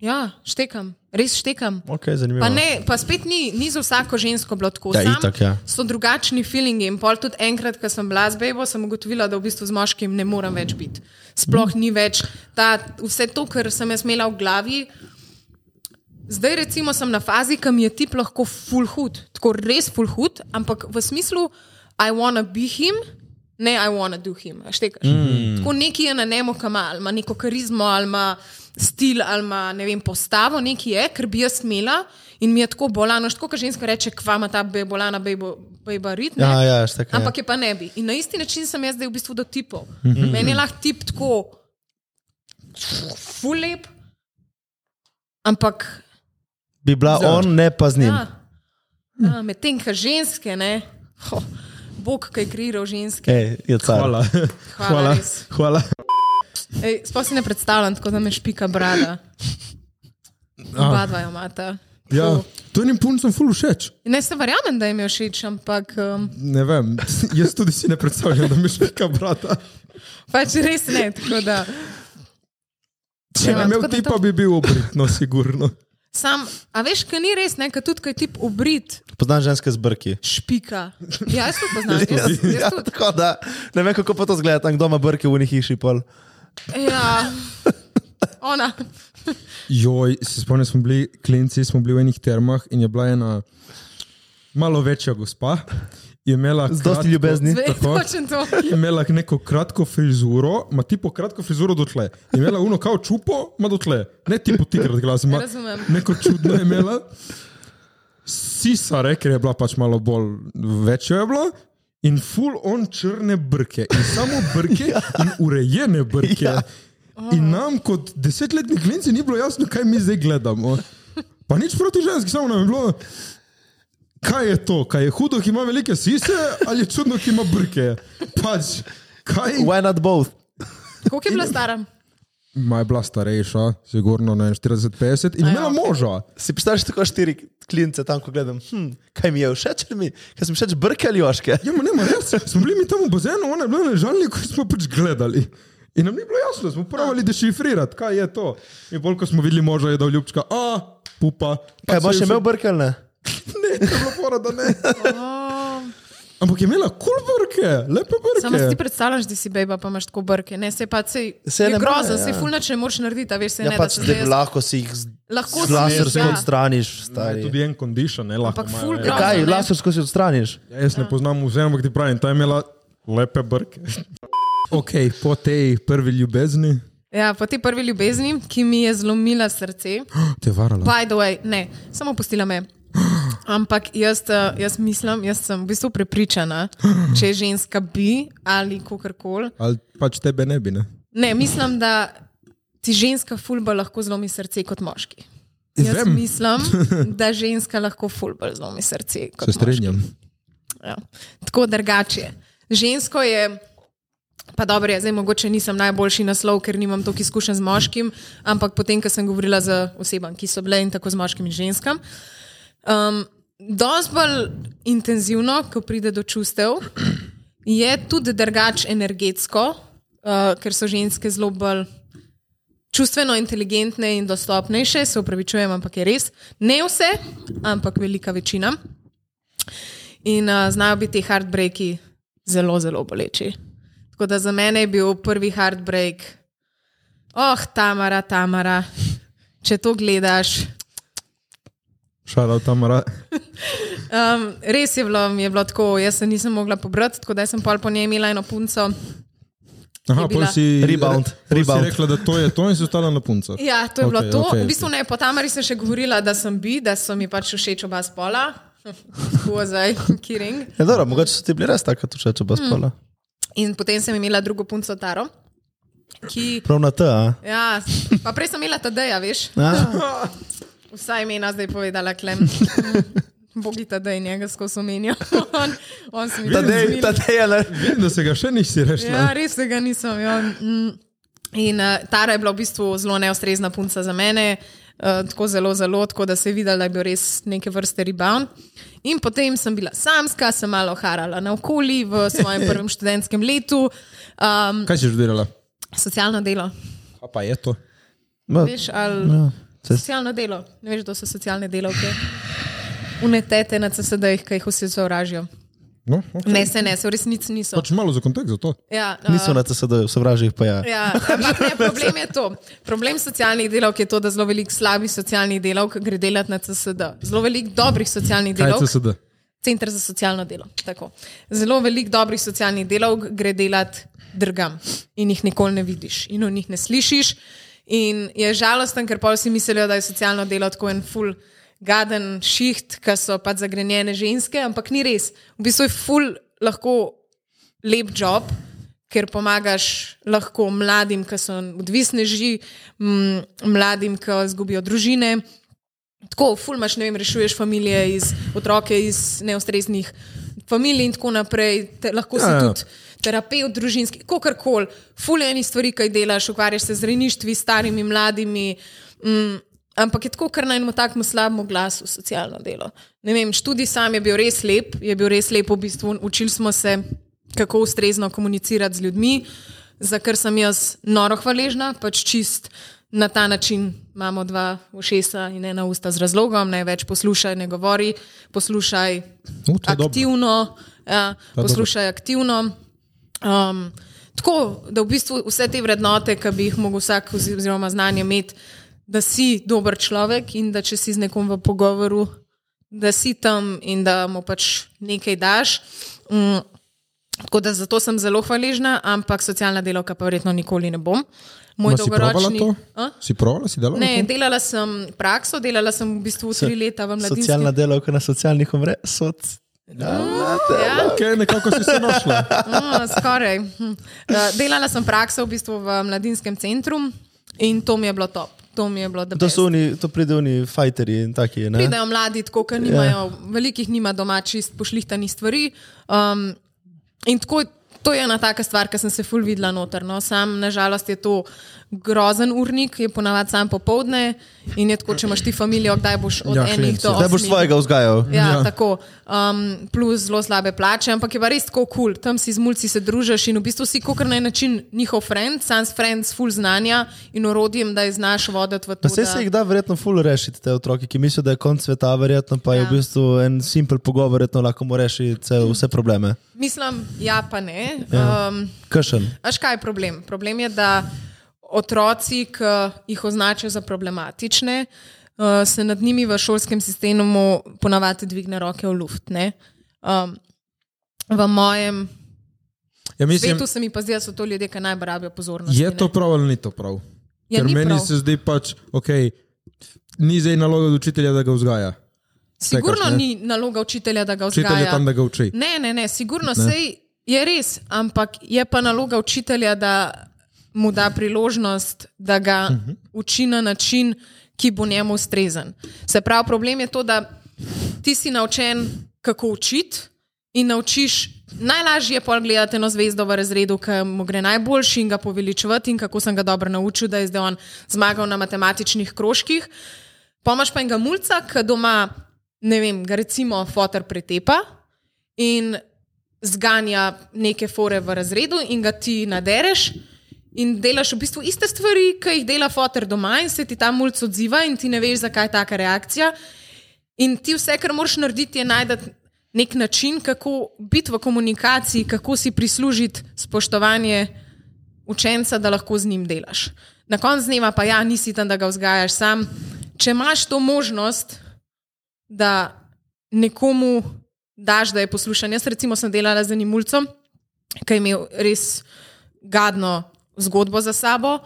Ja, štekam, res štekam.
Ok, zanimivo.
Pa, ne, pa spet ni, ni za vsako žensko bilo tako.
Ja,
Sam
itak, ja.
So drugačni feelingi. In pol tudi enkrat, ko sem bila z bejbo, sem ugotovila, da v bistvu z moškim ne morem več biti.
Mhm.
Sploh ni več ta, vse to, kar sem jaz imela v glavi. Zdaj, recimo, sem na fazi, ki mi je tip lahko full hud, tako res full hud, ampak v smislu, I wanna be him, ne I wanna do him. a Štekaš. Mm. Tako neki je na nemo kama, ali ima neko karizmo, ali ima stil, ali ima ne vem, postavo, neki je, ker bi jaz smela in mi je tako bolano, še tako, kot ženska reče, kvama ta be bolana, bejbo, bejba ritme.
Ja, ja, štaka,
Ampak je pa ne bi. In na isti način sem jaz zdaj v bistvu do tipov. Mm -hmm. Meni je lahko tip tako, fulep, ampak
bi bila
Ja.
on, ne pa z njim.
ja, ja, medtem ko ženske, ne, ho, Bog, ki je kriral ženske.
Ej, je car.
E, Hvala.
Hvala
Hvala.
res.
Hvala.
Ej, Sploh si ne predstavljam, tako da me špika brada. Oba dva jo imata.
Ah, Ja, to enim puncem ful všeč.
Ne, se verjamem, da jim je všeč, ampak um,
Ne vem, jaz tudi si ne predstavljam, da mi še kaj brata.
pač res ne. Tako da.
Če bi
Ja,
imel
tako da
ti,
to-
pa bi bil obritno, sigurno.
Sam, a veš, kaj ni res, ne, kaj tudi kaj tip obrit,
Poznam ženske z brki.
špika. Ja, jaz to poznam. Jaz,
Ja,
jaz tudi,
tako da ne vem, kako pa to zgleda, tam kdo ima brke v njih hiši. Pol.
ja, ona.
Joj, se spomnim, smo bili klinci, smo bili v enih termah in je bila ena malo večja gospa. Je imela
Z dosti
kratko-
ljubezni.
Zdaj,
Tako.
točno to.
Je imela neko kratko frizuro, ima tipo kratko frizuro dotle. Je imela uno kao čupo, ima dotle. Ne tipo tigrat glas, ima
Razumem.
neko čudno je imela. Sisare, ker je bila pač malo bolj večja je bila. In full on črne brke, in samo brke, ja. in urejene brke. Ja. In nam kot desetletni klinci ni bilo jasno, kaj mi zdaj gledamo. Pa nič proti ženski, samo nam je bilo, kaj je to, kaj je hudo, ki ima velike sise, ali je čudno, ki ima brke. Pač, kaj
Why not both?
Koliko je bila stara?
Ma je bila starejša, sigurno ne 40-50, in
Aja,
imela
ok.
moža.
Si predstavljaš tako štiri klince tam, ko gledam, hm, kaj mi je všeč, ali mi, kaj sem všeč brke ali oške?
Ja, ma ne, ma res, smo bili mi tam v bazenu, ona je bila na žalni, ko smo pač gledali. In nam ni bilo jasno, smo pravili dešifrirati, kaj je to. In bolj, ko smo videli moža, je dal ljubčka, a, pupa. Pač
Kaj
Pa
boš
se je
imel brke ali ne?
vse- Ne, to je bilo fora, da ne.
Oh,
Ampak je imela kul brke, lepe
Samo si ti
brke.
predstavljaš, da si beba, pa imaš tako brke. Ne, se pa sej,
Saj
je
ne
grozen,
more,
se
ja.
fulnač ne moreš narediti, a veš, se
Ja,
ne da
pač
se
zdaj
zdaj.
lahko si jih z,
Lahko
z
si
lasersko
jih, ja.
odstraniš.
Je
stari.
tudi en condition, ne lahko.
Ampak
imajo,
ful
ja.
grozen.
Kaj,
ne?
lasersko si odstraniš?
Ja, Jaz ne poznam vse, ampak ti pravim, ta je imela lepe brke. Ok, po tej prvi ljubezni
Ja, po tej prvi ljubezni, ki mi je zlomila srce,
te je varala.
by the way, ne, samo pustila me. Ampak jaz, eh, jaz mislim, jaz sem v bistvu prepričana, če ženska bi ali kakorkoli.
Ali pač tebe ne bi, ne?
Ne, mislim, da ti ženska fulba lahko zlomi srce kot moški. Jaz
Vem.
Vem. mislim, da ženska lahko fulba zlomi srce kot
Se
moški.
strinjam.
Ja. Tako drugače. Žensko je, pa dobro, je, zdaj mogoče nisem najboljši naslov, ker nimam toliko izkušenj z moškim, ampak potem, ko sem govorila z osebami, ki so bile in tako z moškim in ženskam. Um, Dosti bolj intenzivno, ko pride do čustev, je tudi drugače energetsko, uh, ker so ženske zelo bolj čustveno inteligentne in dostopnejše, se upravičujem, ampak je res. Ne vse, ampak velika večina. In uh, znajo biti ti heartbreaki zelo, zelo boleči. Tako da za mene je bil prvi heartbreak, oh, Tamara, Tamara, če to gledaš.
Šala tam ra.
Um, res je bilo, mi je bilo tako, jaz se nisem mogla pobrati, tako da sem pol po njej imela eno punco.
Aha,
Je
pol
bila-
si, eh,
Rebound,
pol
rebound.
si rekla, da to je to in si ostala na punca.
Ja, to je okay, bilo
Okej,
to.
okej,
Okay, v bistvu ne, po Tamari sem še govorila, da sem bi, da so mi pač všeč oba spola. Huo zdaj, kiring.
Ja, dobro, mogoče so ti bili res tako, če če
Hm.
bo spala.
In potem sem imela drugo punco Taro, ki.
Prav na te, a?
Ja, pa prej sem imela Tadeja, veš.
Ja.
Vsa imena zdaj povedala, klem. Bogi tadej njega skozi omenijo. on, on se mi je
Tadej,
zmenil.
tadej, je le.
Vem, da se ga še nisi rešila.
Ja, res se ga nisem. Ja. Mm. In uh, Tara je bila v bistvu zelo neustrezna punca za mene, uh, tako zelo, zelo, tako da se je videla, da je bil res neke vrste rebound. In potem sem bila samska, sem malo harala naokoli v svojem prvem študentskem letu, um,
Kaj si že delala?
socialno delo.
A pa je to.
Ma,
Veš, ali...
ja, saj s-
Socialno delo, ne veš, kdo so socialne delavke. Unetete na CSD-jih, ki jih vsi sovražijo.
No, okay.
Ne, se ne, se v resnici niso.
Pač malo za kontekst za to.
Ja, uh,
Niso na CSD, sovraži jih pa ja.
Ja, ampak ne, problem je to. Problem socialnih delavk je to, da zelo veliko slabih socialnih delavk gre delati na CSD. Zelo veliko dobrih socialnih
Kaj je
delavk,
CSD?
Center za socialno delo. tako. Zelo veliko dobrih socialnih delavk gre delati drugam in jih nikoli ne vidiš in o njih ne slišiš. In je žalosten, ker pa vsi mislijo, da je socialno delo tako en full. Gaden šiht, ki so pač zagrenjene ženske, ampak ni res. V bistvu je ful lahko lep job, ker pomagaš lahko mladim, ki so odvisneži, m, mladim, ki izgubijo družine. Tako, fulmaš, ne vem, rešuješ družine iz, otroke iz neustreznih familiji in tako naprej, te, lahko ja, si
Ja, ja.
tudi terapeut, družinski, kako koli, fulejni stvari, kaj delaš, ukvarjaš se z rejništvi, starimi, mladimi. Mm, ampak je tako, ker na enem takem slabem glasu socialno delo. Ne vem, študij sam je bil res lep, je bil res lep, v bistvu učili smo se, kako ustrezno komunicirati z ljudmi, za kar sem jaz noro hvaležna, pač čist. Na ta način imamo dva ušesa in ena usta z razlogom, največ poslušaj, ne govori, poslušaj
U, to je dobro.
aktivno, ja,
dobro.
poslušaj aktivno. Um, tako da v bistvu vse te vrednote, ki bi jih mogel vsak, ozi- oziroma znanje imeti, da si dober človek in da če si z nekom v pogovoru, da si tam in da mu pač nekaj daš. Mm, Tako da zato sem zelo hvaležna, ampak socialna delovka pa verjetno nikoli ne bom. Moj
Ma si provala to?
dolgoročni. A?
Si provala, si delala?
Ne,
na
delala sem prakso, delala sem v bistvu tri leta v mladinstvu.
Socialna delavka na socialnih omrežjih, soc.
ja.
tem? Ok, nekako si se našla.
No, skoraj. Hm. Eh, Delala sem prakso v bistvu v mladinskem centru in to mi je bilo top. To mi je bilo, da
To, so oni, to pridejo oni fajterji in taki. Ne? Ja.
pridejo mladi, tako ker nimajo, yeah. velikih nima doma čist pošlihtani stvari. Um, in tako, to je ena taka stvar, ki sem se ful videla noter. No. Sam, nažalost, je to grozen urnik, je ponavadi sam popovdne in je tako, če imaš ti familijo, kdaj boš od
Ja,
ja, enih
klinci.
do
Zdaj boš
osmih.
svojega vzgajal.
Ja,
Ja.
ja. tako. Um, plus zelo slabe plače, ampak je pa res tako kul. Cool. Tam si z mulci se družiš in v bistvu si kot na en način njihov friend, sam s friends, full znanja in orodjem, da je znaš voditi v to.
Pa Vse se jih da verjetno ful rešiti, te otroke, ki mislijo, da je konc sveta, verjetno pa je
Ja.
v bistvu en simpel pogovor, verjetno lahko mu reši cel, vse probleme.
Mislim, ja, pa ne. Ja. Um,
Kršen.
Až kaj je problem? Problem je, da otroci, ki jih označijo za problematične, eh, se nad njimi v šolskem sistemu ponavadi dvigne roke v luft. ne. Um, v mojem
Ja, mislim,
svetu se mi pa zdi, da so to ljudje, ki najbolj rabijo pozornost.
je to prav ali ni to prav?
Ja,
Ker
ni
meni
prav.
se zdi pač, ok, ni zdaj naloga od učitelja, da ga vzgaja.
Sigurno
Čakaš, ne?
ni naloga učitelja, da ga
Učitelj je
vzgaja.
tam, da ga uči.
Ne, ne, ne, sigurno sej je res, ampak je pa naloga učitelja, da mu da priložnost, da ga uh -huh. uči na način, ki bo njemu ustrezen. Se pravi, problem je to, da ti si naučen, kako učiti in naučiš. Najlažje je pol gledati eno zvezdo v razredu, ki mu gre najboljši in ga poveličevati, in kako sem ga dobro naučil, da je zdaj on zmagal na matematičnih krožkih. Pomaž pa enega mulca, ki doma, ne vem, ga recimo fotor pretepa, in zganja neke fore v razredu in ga ti nadereš. In delaš v bistvu iste stvari, ki jih dela fotor doma, in se ti ta mulj odziva, in ti ne veš, zakaj je taka reakcija. In ti vse, kar moraš narediti, je najti nek način, kako biti v komunikaciji, kako si prislužiti spoštovanje učenca, da lahko z njim delaš. Na koncu dneva pa ja, nisi tam, da ga vzgajaš sam. Če imaš to možnost, da nekomu daš, da je poslušan. Jaz, recimo, sem delala z enim mulcem, ki je imel res gadno zgodbo za sabo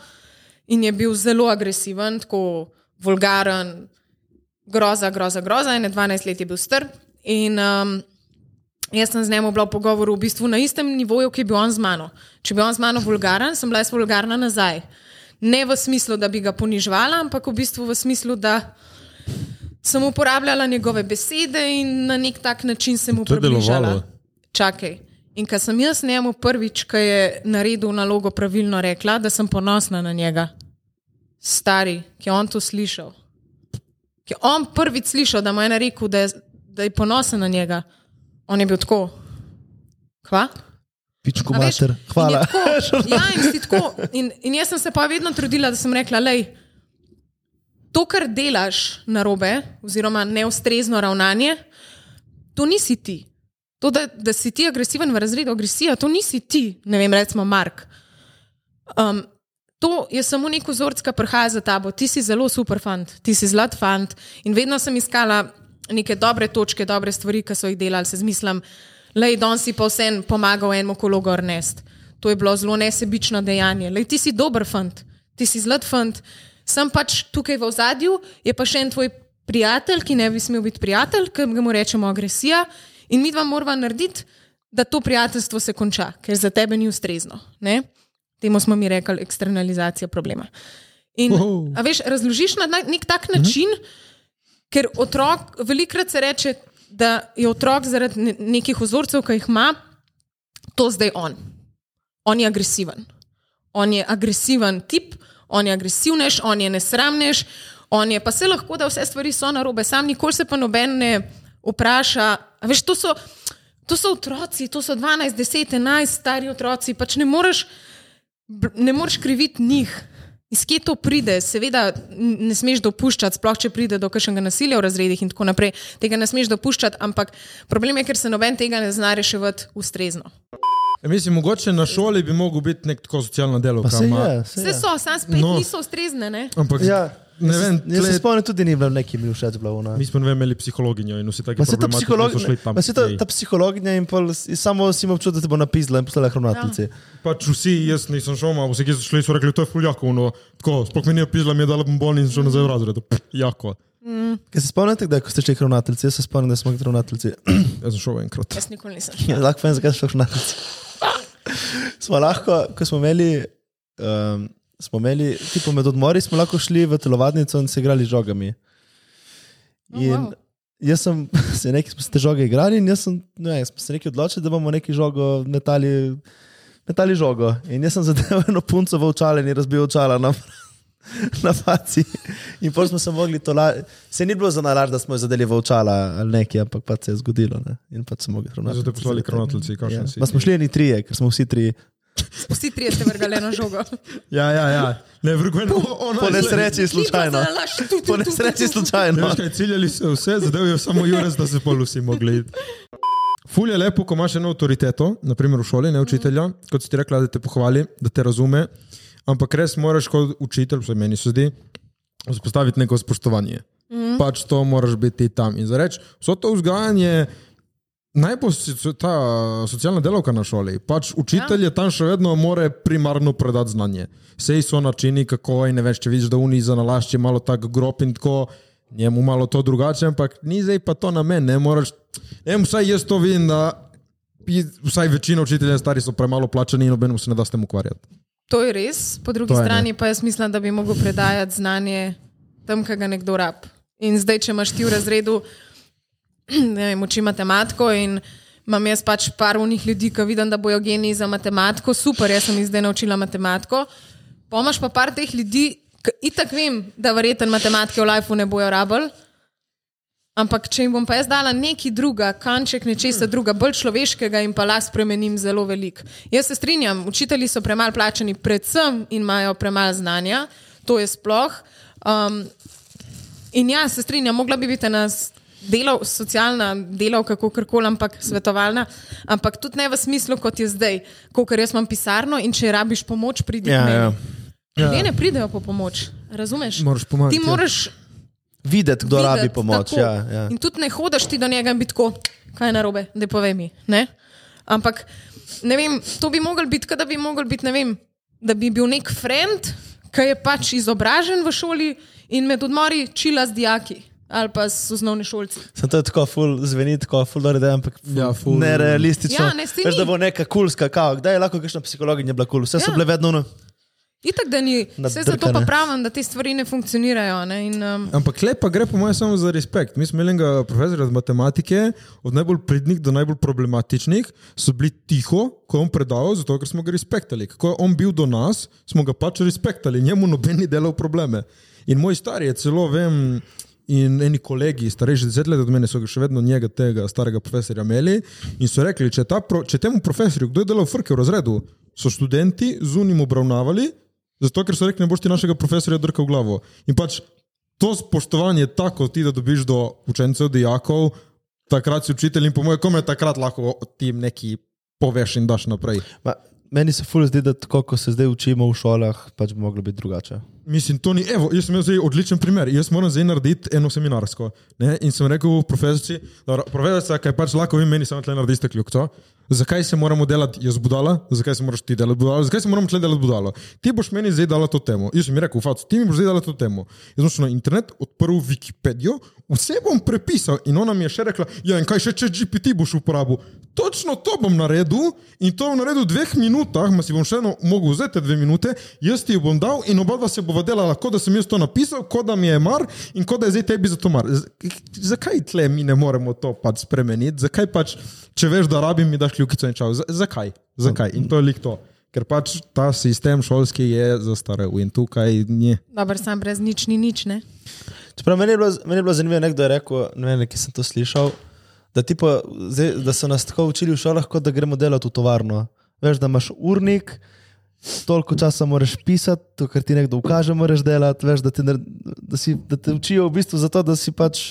in je bil zelo agresiven, tako vulgaren, groza, groza, groza. In 12 let je bil star. In um, jaz sem z njim bila v pogovoru v bistvu na istem nivoju, ki je bil on z mano. Če bi on z mano vulgaren, sem bila jaz vulgarna nazaj. Ne v smislu, da bi ga ponižvala, ampak v bistvu v smislu, da sem uporabljala njegove besede in na nek tak način sem mu
To je
približala.
delovalo.
Čakaj. In ko sem jaz njemu prvič, ko je naredil nalogo, pravilno rekla, da sem ponosna na njega, stari, ki je on to slišal. Ki je Ja, on prvič slišal, da mu je ena rekel, da je, da je ponosen na njega. On je bil tako. Kva?
Pičko
A veš,
mater,
in je
hvala.
Tako, ja, in si tako. In, in jaz sem se pa vedno trudila, da sem rekla, da to, kar delaš na robe, oziroma neustrezno ravnanje, to nisi ti. To, da, da si ti agresiven v razredu, agresija, to nisi ti, ne vem, recimo Mark. Um, to je samo nek vzorec, ki prihaja za tabo. Ti si zelo super fant, ti si zlat fant. In vedno sem iskala neke dobre točke, dobre stvari, ki so jih delali, se zmislim, le don si pa vsem pomagal enemu kologu Ernest. To je bilo zelo nesebično dejanje. Lej, ti si dober fant, ti si zlat fant. Sem pač tukaj v ozadju, je pa še en tvoj prijatelj, ki ne bi smel biti prijatelj, ki mu rečemo agresija. In mi dva moramo narediti, da to prijateljstvo se konča, ker za tebe ni ustrezno. Ne? Temu smo mi rekli eksternalizacija problema. In,
Wow.
a veš, razložiš na na nek tak način, ker otrok velikrat se reče, da je otrok zaradi ne- nekih vzorcev, ki jih ima, to zdaj on. On je agresiven. On je agresiven tip, on je agresivnež, on je nesramnež, on je pa se lahko, da vse stvari so narobe, sam nikoli se pa noben ne vpraša. A Veš, to so, to so otroci, to so 12, 10, 11 stari otroci, pač ne moreš br- ne moreš kriviti njih. Iz kje to pride? Seveda n- ne smeš dopuščati, sploh če pride do kakšnega nasilja v razredih in tako naprej. Tega ne smeš dopuščati, ampak problem je, ker se noben tega ne zna reševati ustrezno.
Ja, Mislim, mogoče na šoli bi mogel biti nek tako socialno delo.
Pa se je, se
Vse
je.
so, sam spet
No.
no. niso ustrezne. Ne?
Ampak
Ja.
ne vem,
jaz se
tle,
spomnim, tudi ni bilo neki mi všeč. bila ona.
mi smo ne vem, imeli psihologinjo in vsi taki
Pa se ta,
problematiki
psiholog...
so šli tam.
pa saj ta,
Ej.
ta psihologinja in pol, s- samo si imel občutek, da te bo napisala in poslala hranateljici. Ja.
Pač vsi, jaz nisem šel, ampak vsi, ki so šli, so rekli, to je fuljako, no, tako, sploh mi ni opisala, mi je dala bombon in šel nazaj v razred. Pff, Jako.
Kaj se spomnite, da ko ste šli k hranateljici? Jaz se spomnim, da smo k hranateljici.
Jaz sem šel enkrat.
Jaz nikoli nisem.
Ja, lahko povem, zakaj smo šli na ulici. Smo lahko, ko smo imeli, um, smo imeli, tipo med odmori, smo lahko šli v telovadnico in se igrali z žogami. In
wow.
jaz sem se nekaj, smo se te žoge igrali in jaz sem, ne, smo se nekaj odločili, da bomo neki žogo metali, metali žogo. In jaz sem zadeval eno punco v očale in ji razbil očala na, na faci. In pol smo se mogli to lažje. Se ni bilo za nalaž, da smo jo zadeli v očala ali nekaj, ampak pa se je zgodilo. Ne? In pa smo mogli ravnati.
Zato poslali kronateljci, kakšen si.
Ja. Pa smo šli eni trije, ker smo vsi trije.
Vsi trije ste vrgli na žogo.
Ja, ja, ja. Ne, vrgojno.
Po nesreči slučajno. Po nesreči slučajno.
Veš kaj, ciljali so vse, zadev je samo Jurek, da se pol vsi mogli. iti. Ful je lepo, ko imaš eno avtoriteto, naprimer v šoli, ne učitelja, kot si ti rekla, da te pohvali, da te razume, ampak res moraš kot učitelj, vsaj meni se zdi, vzpostaviti neko spoštovanje. Mm. Pač to moraš biti tam in zareči, vso to vzgajanje. Najbolj so- ta eh, socialna delavka na šoli. Pač učitelj je tam še vedno more primarno predati znanje. Sej so načini, kako je, ne veš, če vidiš, da unijo zanalašče malo tako grob in tako, njemu malo to drugače, ampak ni zdaj pa to na meni, ne moraš. Ne vem, vsaj jaz to vidim, da je- vsaj večina učiteljev stari so premalo plačani in nobenemu se ne da s tem ukvarjati.
To je res, po drugi
To je ja. ne.
strani pa jaz mislim, da bi mogel predajati znanje tam, kjer ga nekdo rab. In zdaj, če imaš ti v razredu, ne vem, učim matematiko in imam jaz pač par unih ljudi, ki vidim, da bojo geniji za matematiko, super, jaz sem jih zdaj naučila matematiko. Pomaž pa par teh ljudi, ki itak vem, da verjeten matematike v lifeu ne bojo rabili. Ampak, če jim bom pa jaz dala nekaj druga, kanček nečesa druga, bolj človeškega, jim pa lahko spremenim zelo veliko. Jaz se strinjam, učitelji so premalo plačani, predvsem in imajo premalo znanja, to je sploh. Um, in ja, se strinjam, mogla bi biti ena s- delov, socialna delavka, kako koli, ampak svetovalna, ampak tudi ne v smislu, kot je zdaj, kot jaz imam pisarno in če rabiš pomoč, pridi.
Ja,
k meni.
ja.
Ljudje ne pridejo po pomoč, razumeš?
Moraš
Ti
pomagati, ja.
moraš
Videti, kdo rabi
videti,
pomoč.
tako.
Ja, ja.
In tudi ne hodiš ti do njega in biti tako, kaj je narobe, da povej mi. Ne? Ampak ne vem, to bi mogel biti, kot da bi mogel biti, ne vem, da bi bil nek friend, ki je pač izobražen v šoli in med odmori čila z dijaki ali pa s osnovni šolci.
Sem to je tako ful, zveni tako ful, da je, ampak ful,
Ja,
ja,
ful.
ful, nerealistično.
Ja, ne, saj
Veš,
ni.
da bo neka kulska, kao, kdaj je lahko kakšna psihologinja bila kul, cool? vse ja. so
Ja.
bile vedno ono.
Itak, da ni, vse zato pa
Nadrkane.
pravim, da te stvari ne funkcionirajo. Ne? In, um,
Ampak lepa gre, po mojem, samo za respekt. Mi smo imeli enega profesorja iz matematike, od najbolj pridnih do najbolj problematičnih, so bili tiho, ko je on predaval, zato ker smo ga respektali. Ko je on bil do nas, smo ga pač respektali, njemu noben ni delal probleme. In moj star je celo, vem, in eni kolegi, starejši deset let od mene, so ga še vedno njega, tega starega profesorja imeli in so rekli, če, ta pro, če temu profesorju, kdo je delal frke v razredu, so študenti zunim obravnavali, zato ker so rekli, ne boš ti našega profesorja drkal v glavo. In pač to spoštovanje je tako, ti da dobiš do učencev, dijakov, takrat si učitelj in po mojem, kome takrat lahko ti neki poveš in daš naprej.
Ma, meni se ful zdi, da tako, ko se zdaj učimo v šolah, pač bi moglo biti drugače.
Mislim, to ni, evo, jaz sem imel zdaj odličen primer. Jaz moram zdaj narediti eno seminarsko. Ne? In sem rekel profesorici, da profesorica, kaj pač lahko vi meni, samo tle naredite kljukco. Zakaj se moramo delati jaz budala, zakaj se moraš ti delati budala, zakaj se moramo tle delati budala? Ti boš meni zdaj dala to temo. Jaz sem ji rekel, fac, ti mi boš zdaj dala to temo. Jaz sem šel na internet, odprl Wikipedijo, vse bom prepisal in ona mi je še rekla, ja in kaj še če GPT boš uporabil. Točno to bom naredil in to bom naredil v dveh minutah, ma si bom še eno mogel vzeti te dve minute, jaz ti jo bom dal in oba dva se bova delala, kot da sem jaz to napisal, kot da mi je mar in kot da je zdaj tebi za to mar. Z- Zakaj tle mi ne moremo to pač spremeniti? Zakaj pač, če veš, da rabim, mi daš kljukico in čau? Z zakaj? Zakaj? In to je lik to. Ker pač ta sistem šolski je zastarel in tukaj ni.
Dobro, sam brez nič ni nič, ne?
Čeprav meni je bilo, meni je bilo zanimivo, nekdo je rekel, ne vem, ki sem to slišal, da, tipa, zdaj, da so nas tako učili v šolah, kot da gremo delati v tovarno. Veš, da imaš urnik, toliko časa moraš pisati, to, kar ti nekdo ukaže, moraš delati. Veš, da, te, nar- da, si, da te učijo v bistvu zato, da si pač.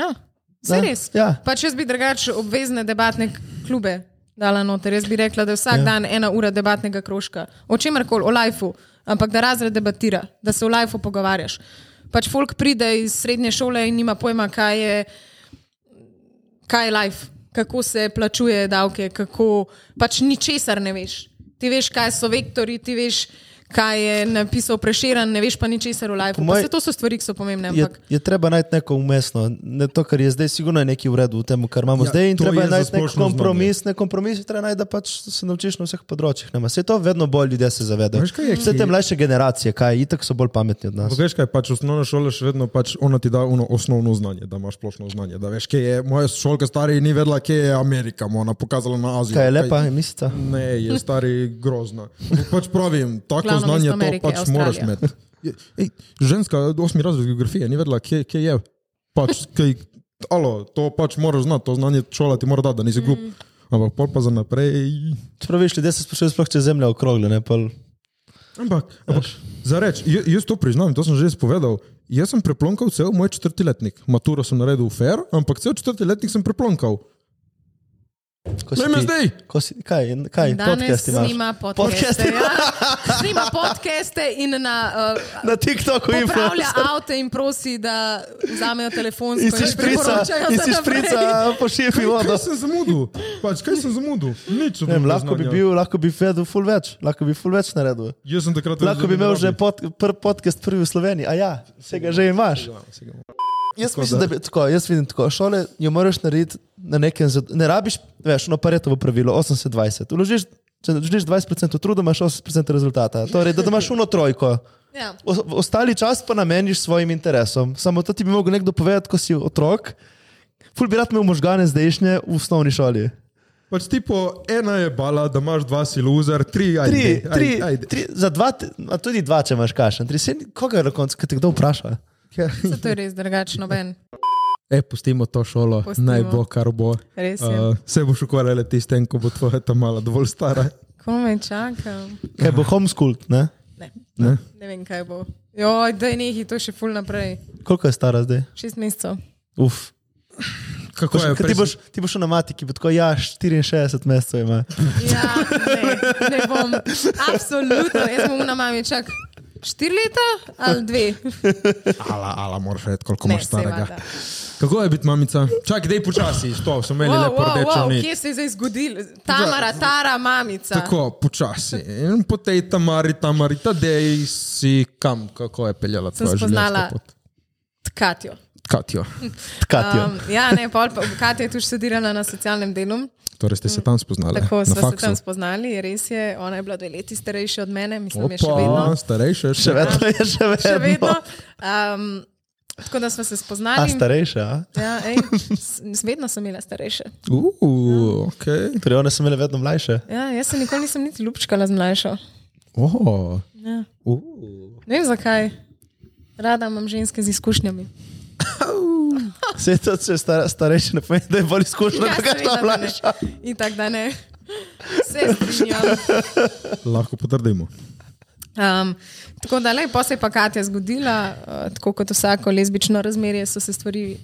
Ja,
ne,
se res.
Ja.
Pač jaz bi drugače obvezne debatne klube dala noter. Jaz bi rekla, da je vsak
Ja.
ja. dan ena ura debatnega krožka, o čemer koli, o lajfu, ampak da razred debatira, da se o lajfu pogovarjaš. Pač folk pride iz srednje šole in nima pojma, kaj je, kaj je life, kako se plačuje davke, kako pač ničesar ne veš. Ti veš, kaj so vektori, ti veš, kaj je napisal preširan, ne veš pa ničesar o lajfu.
Po Ja, moj-
Vse to so stvari, ki so pomembne.
Je,
Ampak...
je treba najti neko umestno, ne, to, kar je zdaj, sigurno je nekaj v redu v tem, kar imamo
Ja,
ja, zdaj. in
to
Treba
je
je
za
najti nek
splošno
kompromis, ne kompromis, je treba najti, da pač se naučiš na vseh področjih. Ne, se to vedno bolj ljudje se zavedajo.
Veš, kaj je,
Vse
ki-
te mlajše generacije, kaj itak so bolj pametni od nas.
Ampak veš kaj, pač osnovna šola še vedno pač ona ti da ono osnovno znanje, da imaš splošno znanje. Da veš, kje je moja šolka stari ni vedela, kje je Amerika, mu je ona pokazala na Azijo.
Kaj je lepa, je mislica?
Ne, je stari grozna. Ampak Pač pravim, tako
Glavno
znanje
mesto
to
Amerike,
pač
Avstralija.
moraš imeti. Je- Ej, ženska, osmi razred geografije, ni vedela, kje, kje je. Pač, kaj, alo, to pač moraš znati, to znanje šola ti mora dati, da nisi glup.
Mm.
Ampak pol pa za naprej.
Čeprav veš, ljudje se sprašujejo, sploh če je zemlja okrogla. Ne, pol...
Ampak, ampak za reč, j- jaz to priznam, to sem že spovedal. Jaz sem preplonkal cel moj četrti letnik. Maturo sem naredil fair, ampak cel četrti letnik sem preplonkal.
Ko
Glej me zdaj!
Ko si, kaj, kaj
Danes
podcast imaš?
snima podcaste.
Podcaste.
Ja. Snima podcaste in na, uh,
Na TikToku in
popravlja avto in prosi, da vzamejo telefon
In si šprica, in si šprica pošipi vodo.
Kaj sem zamudil? Pač, kaj sem zamudil? Nič od
Ne, vem,
mojega
lahko bi
znanja.
bil, lahko bi vedel ful več, lahko bi ful več naredil.
Jaz sem takrat
Lahko bi imel že
razumel,
pod, pr, podcast prvi v Sloveniji, a ja, vse ga že imaš. Jaz mislim, da bi tako, jaz vidim tako, šole jo moraš narediti na nekem, zad- ne rabiš, veš, no paretovo pravilo, 80-20. Vložiš, če vložiš 20% truda, imaš 80% rezultata. Torej, da, da imaš uno trojko.
Ja.
O- Ostali čas pa nameniš svojim interesom. Samo to ti bi mogel nekdo povedati, ko si otrok. Ful bi rad imel možgane zdajšnje v osnovni šoli.
Pač tipo, ena je bala, da imaš dva si loser, tri, ajde,
Tri,
ajde,
tri,
ajde.
tri, za dva, te- a tudi dva, če imaš kašen. Tri, se, ni- koga je na koncu, kaj te kdo vpraša?
To je res drugačno, Ben.
E, pustimo to šolo,
Pustimo.
naj bo kar bo.
Res je.
Uh, se boš ukvarjala ti s tem, ko bo tvoja ta mala dovolj stara.
Kome čakam?
Kaj bo homeschooled, ne?
Ne.
Ne?
ne vem, kaj bo. Joj, daj nehi, to je še ful naprej.
Koliko je stara zdaj?
Šest mesecev.
Uf. Ko,
Kako
kaj,
je?
ti,
prej-
boš, ti boš šel na matiki, bo tako, ja, 64 mesecev ima.
Ja, ne, ne bom. Absolutno, jaz bom na mami čak. Štiri leta ali dve?
Ala, ala, moraš vedeti, koliko
Ne,
imaš
se
starega.
vada.
Kako je biti mamica? Čakaj, dej počasi, to so imeli lepo rdečo nit.
kje se je zdaj zgodil? Tamara, Tara, mamica.
Tako, počasi. In po tej tamari, tamari, ta dej si kam, kako je peljala
Sem
tvoja
spoznala-
življenjska pot.
Tkatjo.
Katjo.
Tkatijo. Um,
Um, ja, ne, pol, pa- Katja je tu študirala na socialnem delu,
Torej ste se tam spoznali.
tako
na
smo se
faksu.
tam spoznali. Res je, ona je bila dve leti starejša od mene, mislim, da je še vedno.
Opa, starejša.
še vedno je, še vedno.
Še vedno. Um, tako da smo se
A
spoznali.
starejša, a?
Ja, ej, s- s- vedno sem bila starejša.
Uh, ok.
Torej, one so imele vedno mlajše.
Ja, jaz se nikoli nisem niti ljubčkala z mlajšo.
Oh.
Ja.
Uh.
Ne vem zakaj. Rada imam ženske z izkušnjami.
Vse to, če je stara, starejši, ne pomeni, da je bolj izkušena,
Ja,
kot kakšna
seveda, da ne.
mlajša.
In tako da ne. Se strinjam.
Lahko potrdimo.
Um, tako da, le, pa se je pa Katja zgodila, uh, tako kot vsako lezbično razmerje, so se stvari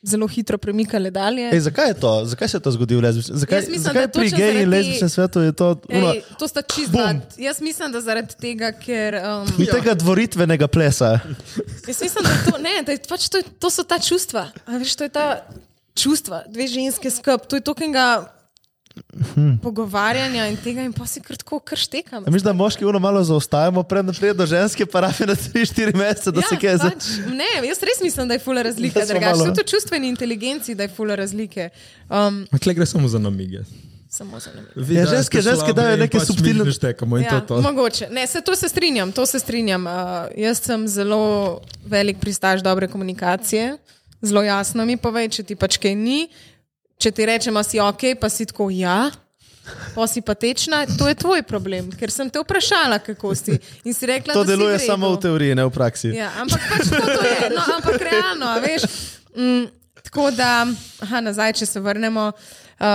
zelo hitro premikale dalje.
Ej, zakaj je to? Zakaj se je to zgodilo? v lezbičnem- Zakaj,
Jaz mislim, da
zakaj
točno
pri gej in
zaradi-
lezbičnem svetu je to? Uno,
Ej, to sta čisto.
Bum. Ja.
dva- Jaz mislim, da zaradi tega, ker. Um,
Ni
Ja.
tega dvoritvenega plesa.
jaz mislim, da, je to, ne, da je, pač to, je, to so ta čustva. A Veš, to je ta čustva, dve ženske skrb, to je to, kar ga
Hm.
pogovarjanja in tega, in pa si kar tako krštekam.
Mislim, da moški uno malo zaostajamo, pred naprej do ženske, pa rafi na 3-4 mesece, da se kaj za.
pač, ne, jaz res mislim, da je fula razlika.
Da smo
Drugače,
malo-
tudi v čustveni inteligenci da je fula razlike. Um,
Tle gre samo za namige.
samo za nami.
Vi
Ja,
dajete
ženske- ženske
slabe
dajo
in
neke
pač mi
subtilne-
Ne štekamo in
Ja,
to je to.
mogoče. Ne, se, to se strinjam, to se strinjam. Uh, jaz sem zelo velik pristaš dobre komunikacije, zelo jasno mi pove, če ti pač kaj ni. Če ti rečem, da si ok, pa si tako ja, pa si patečna, to je tvoj problem, ker sem te vprašala, kako si. In si rekla,
To
da si
deluje
v redu.
samo v teoriji, ne v praksi.
Ja, ampak pač tako to je, no, ampak realno, a veš. Mm, tako da, aha, nazaj, če se vrnemo. Uh,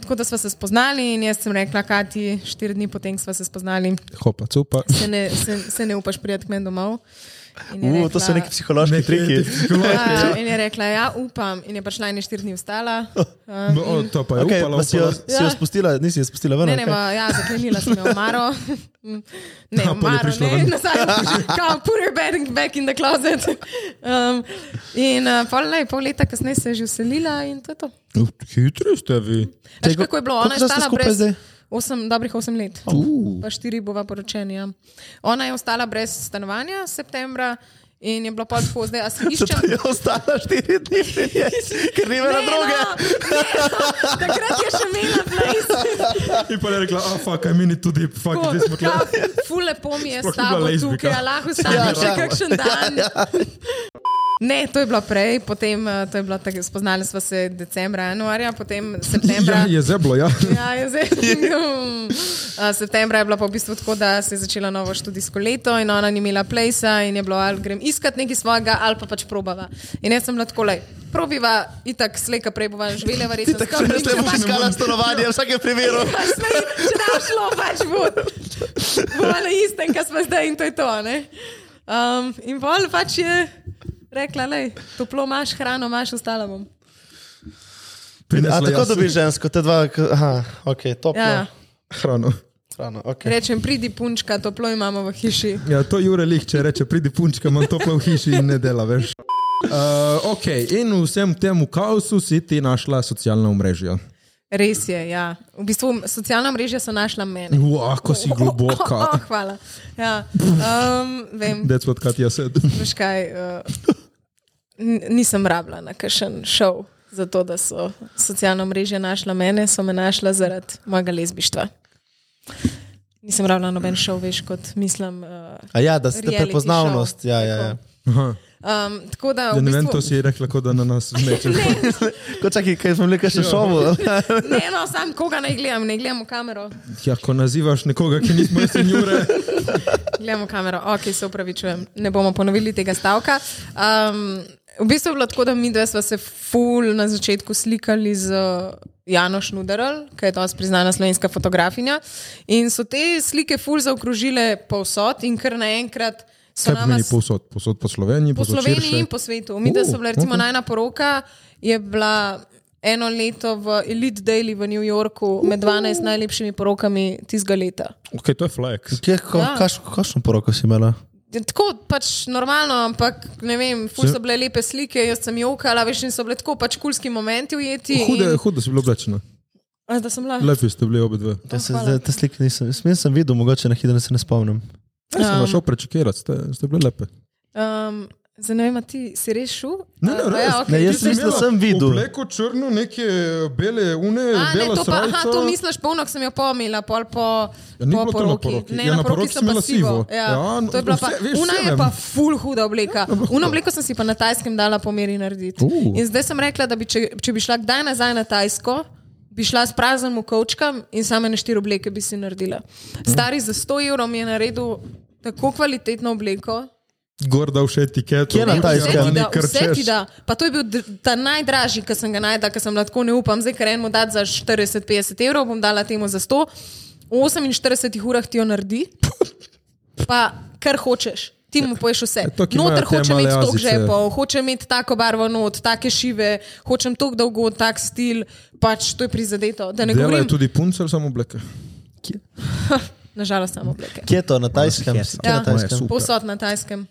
tako da smo se spoznali, in jaz sem rekla, Kati, štiri dni potem smo se spoznali,
Hopa, cupa.
se ne, se, se ne upaš prijeti k meni domov. In je
U, to so neki psihološki
Neki
triki.
A, in je rekla, ja, upam. In je pašla in je štiri dni vstala. Um,
No, o, to pa je
Okay,
upala,
pa si jo,
upala.
si jo
Ja.
spustila, nisi jo spustila ven.
Ne,
ali
ne,
kaj?
ma, ja, zaklenila sem jo v Maro. Ne,
Ja,
ja,
pol je
Maro,
prišla
ne,
ven.
nazaj. Kao, put her back, back in the closet. Um, in uh, pol, lej, pol leta kasneje se je že uselila in to je to.
Uh, Hitri ste vi.
Veš,
Čakaj,
kako je bilo?
koliko
Ona je
časa ste
stala
skupaj
brez...
zdaj?
Osem, dobrih 8 let,
Uh.
pa 4 bova poročeni. Ja. Ona je ostala brez stanovanja septembra in je bila pač tako, zdaj a si iščem.
Zato je ostala štiri dni, pri njej, ker ni imela
Ne,
druge.
No, ne, no, takrat je še imela place.
In pa je rekla, a fuck, I mean it too deep, fuck,
Tako,
zdaj smo tle.
ka, Ful lepo mi je
Sploh
s
ni bila
tabo
lezbika.
tukaj, a lahko ostaneš še kakšen dan. Ja, Ne, to je bilo prej, potem eh, to je bilo tako, spoznali smo se decembra, januarja, potem septembra.
Ja, je zeblo, ja.
Ja, je zdaj. A, Septembra je bilo pa v bistvu tako, da se je začela novo študijsko leto in ona ni imela plesa in je bilo, ali grem iskat nekaj svojega, ali pa pač probava. In jaz sem bila tako, le, probiva, itak slejka prej bova živela, verjetno.
Tako
skoro
da
nič,
ste
če
mu
pač-
iskala stanovanje, v vsakem primeru.
Pač ne, Če da šlo, pač bo. Bova na istem, kar smo zdaj in to je to. ne. Um, in pol pač je rekla, le, toplo imaš, hrano imaš, ostala bom.
A
Prinesla
tako
jaz
dobiš žensko, te dva, k- aha, ok, toplo.
Ja, ja.
Ja.
Hrano.
Hrano, okay.
Rečem, pridi punčka, toplo imamo v hiši.
Ja, to Jure Lih, če reče, pridi punčka, imam toplo v hiši in ne dela več. Uh, ok, in v vsem tem kaosu si ti našla socialna omrežja.
Res je, ja. V bistvu socialna mreža so našla mene.
Uah, ko si
Oh,
globoka.
hvala. Ja. Um, vem,
That's what Katja said.
veš kaj, uh, n- nisem rabila na kakšen šov. Zato, da so socialna mreža našla mene, so me našla zaradi mojega lezbištva. Nisem rabila noben šov, veš, kot mislim. Uh,
A ja, da ste
reality
prepoznavnost.
show.
Ja, ja, ja.
Tako. um, tako da,
Ja,
v
ne vem,
bistvu,
to si je rekla, kot da na nas vmeče.
Ko čakaj, kaj smo rekli,
Ja.
še šovu.
ne, no, sam koga ne gledam, ne gledam v kamero.
Ja, ko nazivaš nekoga, ki nismo jaz in Jure.
Gledamo kamero, ok, se upravičujem, ne bomo ponovili tega stavka. Um, v bistvu je bilo tako, da mi dve smo se ful na začetku slikali z eh, Jano Šnuderl, ki je dosti priznana slovenska fotografinja. In so te slike ful zaokrožile povsod in kar naenkrat so
Kaj
nam
pomeni posod? Posod po Uh, Sloveniji,
po
posod
Sloveniji
širše?
in po svetu. Mi, da so bila recimo
ok.
najna poroka, je bila eno leto v Elite Daily v New Yorku med 12 najlepšimi porokami tistega leta.
Ok, to je flex.
Ja.
Kakšno poroko si imela?
Ja, Tako pač normalno, ampak ne vem, ful so bile lepe slike, jaz sem jokala, veš, in so bile tako pač kulski momenti ujeti.
Hude,
in,
hude si bilo oblečeno.
a, da sem bila.
Lepi ste bili obe dve.
Ja, se,
hvala.
zdaj, te slike nisem, mislim, sem videl, mogoče na hitro se ne spomnim.
Jaz sem vas šel prečekirati, ste, ste bili lepe.
Um, Zdaj ne vem, a ti si res šel?
Ne, ne,
A,
res.
ja, okej,
Ne,
ti
jaz
si-
mislim, da sem videl.
Obleko črno, neke bele une,
A, ne,
bela
to, pa, aha,
srajca.
to misliš, polno sem jo pomila, pol po,
Ja, ni
po
bilo to na poroki.
Ne,
Ja,
na
na poroki
poroki
si
sem pa
imela sivo.
sivo. Ja,
Ja,
to je bila pa,
vse- veš,
una
vse
je
vem.
pa ful huda obleka.
Ja, lahko.
Uno obleko sem si pa na tajskem dala po meri narediti.
Uh.
In zdaj sem rekla, da bi, če, če bi šla kdaj nazaj na tajsko, bi šla s praznim kovčkom in same na štiri obleke bi si naredila.
Hm.
Stari za 100 evrov mi je naredil tako kvalitetno obleko.
Gor da vše etiketo.
Kje na
ja,
Tajskem?
pa
Vse ti
ne
da, vse ti
krčeš.
da. Pa to je bil dr- ta najdražji, ki sem ga najdel, ker sem lahko ne upam, zdaj ker enemu dati za 40-50 evrov, bom dala temu za 100. V 48 urah ti jo naredi, pa kar hočeš. Ti mu poješ vse.
to, ki
Noter
imajo te
hoče
male
imeti tok
azice.
žepov, hoče imeti tako barvo not, take šive, hočem tok dolgo, tak stil, pač to je prizadeto. Da ne
Dela
govorim,
je tudi punce ali samo obleke?
nažalost, samo obleke.
Kje je to, na tajskem?
Ja.
Kje na
Ja.
tajskem?
Super.
Posod na tajskem.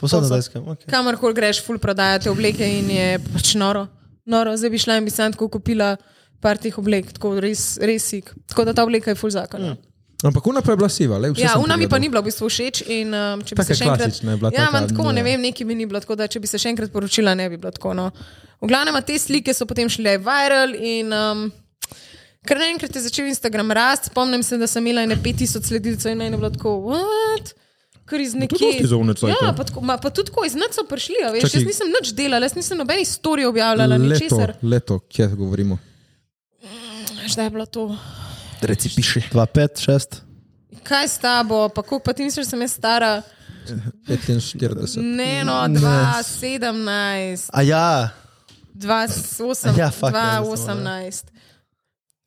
Posod na tajskem, ok.
kamorkoli greš, ful prodajate obleke in je pač noro. Noro, zdaj bi šla in bi sam tako kupila par teh oblek, tako res, res sik. Tako da ta obleka je full zakon. Mm.
Ampak ona pa je bila siva, le vse.
Ja,
sem
unami pa
pogledal.
ni bilo v bistvu všeč. In, um, če bi se
Taka
še enkrat,
klasična je bila,
ja,
taka,
imam tako, ne
ja.
vem, neki mi ni bilo tako, da če bi se še enkrat poročila, ne bi bilo tako. No. V glavnem, a te slike so potem šle viral in um, kar naenkrat je začel Instagram rast. Spomnim se, da sem imela ene 5000 sledilcev in ene bilo tako, what? Ker iz nekje.
dosti za one cajte.
Ja, pa, tako, ma, pa tudi tako, iz noč so prišli, a veš,
Čakaj.
jaz nisem nič delala, jaz nisem nobenih storij objavljala, ničesar.
Leto, leto, kje govorimo.
Šta je bilo to?
Reci piše. 2, 5, 6.
Kaj s tabo, pa koliko pa ti misliš, da sem jaz stara?
45.
Ne, no, 2017,
A ja,
2018,
Ja, fuck, ja, zdaj sem,
2018.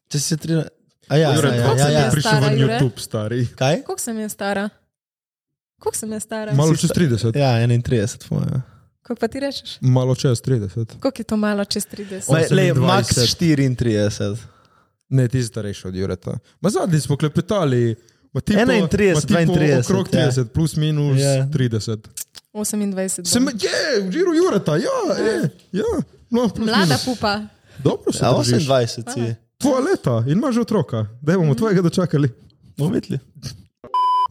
če si 13. A ja,
Jure,
ja, ja,
koliko
ja,
sem
ja.
jaz?
prišel
stara,
na
Jure?
YouTube, stari.
Kaj?
Koliko sem jaz stara? Koliko sem jaz stara?
Malo čez 30.
Ja, 31, po mojem.
Koliko pa ti rečeš?
Malo čez 30.
Koliko je to malo čez 30?
Ma, lej, Max
28.
34.
Ne, ti si starejši od Jureta. Ma zadnji smo klepetali. Ma
31,
tipo, ma tipo
32,
Okrog
ja.
30, ja. plus minus
Ja.
ja. 30.
28.
Sem,
bom.
je, v žiru Jureta, ja, je, ja. No, plus
Mlada
minus.
pupa.
Dobro se
A
držiš.
28 si.
Tvoja leta in imaš že otroka. Daj
Mhm.
bomo tvojega dočakali.
Bomo videli.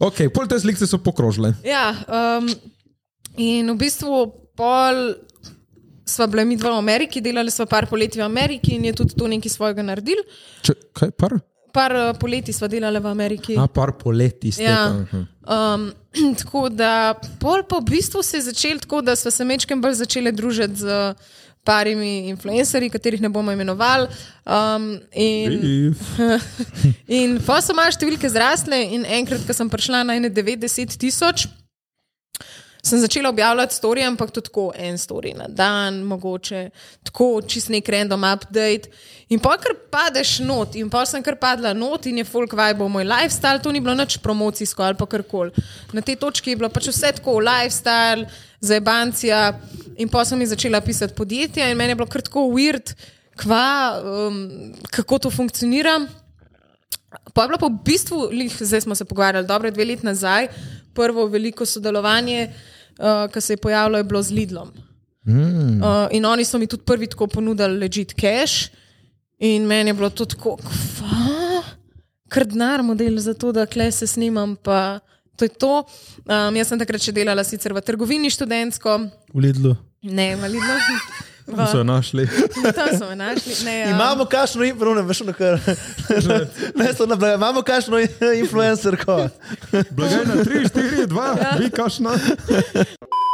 Ok, pol te slike so pokrožile.
Ja, um, in v bistvu pol sva bila mi dva v Ameriki, delali sva par poleti v Ameriki in je tudi to nekaj svojega naredil.
Če, kaj, par?
Par eh, poleti sva delali v Ameriki.
A, par poleti Mhm. ste.
Ja.
tam, aha.
Um, tako da, pol pa v bistvu se je začel tako, da smo se mečem bolj začeli družiti z parimi influencerji, katerih ne bomo imenovali. Um, in,
If.
in pa so moje številke zrasle, in enkrat, ko sem prišla na 90 tisoč. Sem začela objavljati storije, ampak tudi tako, en storij na dan, mogoče tako, čist nek random update. In pa kar padeš not, in pa sem kar padla not, in je folk vibe moj lifestyle, to ni bilo nič promocijsko ali pa karkoli. Na tej točki je bilo pač vse tako, lifestyle, zajebancija. In pa sem jim začela pisati podjetja, in meni je bilo kar tako weird, kva, um, kako to funkcionira. Pa je bilo pa v bistvu, lih, zdaj smo se pogovarjali, dobre dve leti nazaj, prvo veliko sodelovanje, uh, ki se je pojavilo, je bilo z Lidlom. Mm. Uh, in oni so mi tudi prvi tako ponudili ležit cash, in meni je bilo to tako, kva, krdnar model za to, da kle se snimam, pa to je to. Um, jaz sem takrat še delala sicer v trgovini študentsko,
V Lidlu.
ne, malidno.
Tam so jo našli.
Tam so me našli. Ne, ja.
Imamo kašno influencerko, veš, na kar. Ne, so na blaga. Imamo kašno influencerko.
Blagajna 3, 4, 2, ja. vi kašna.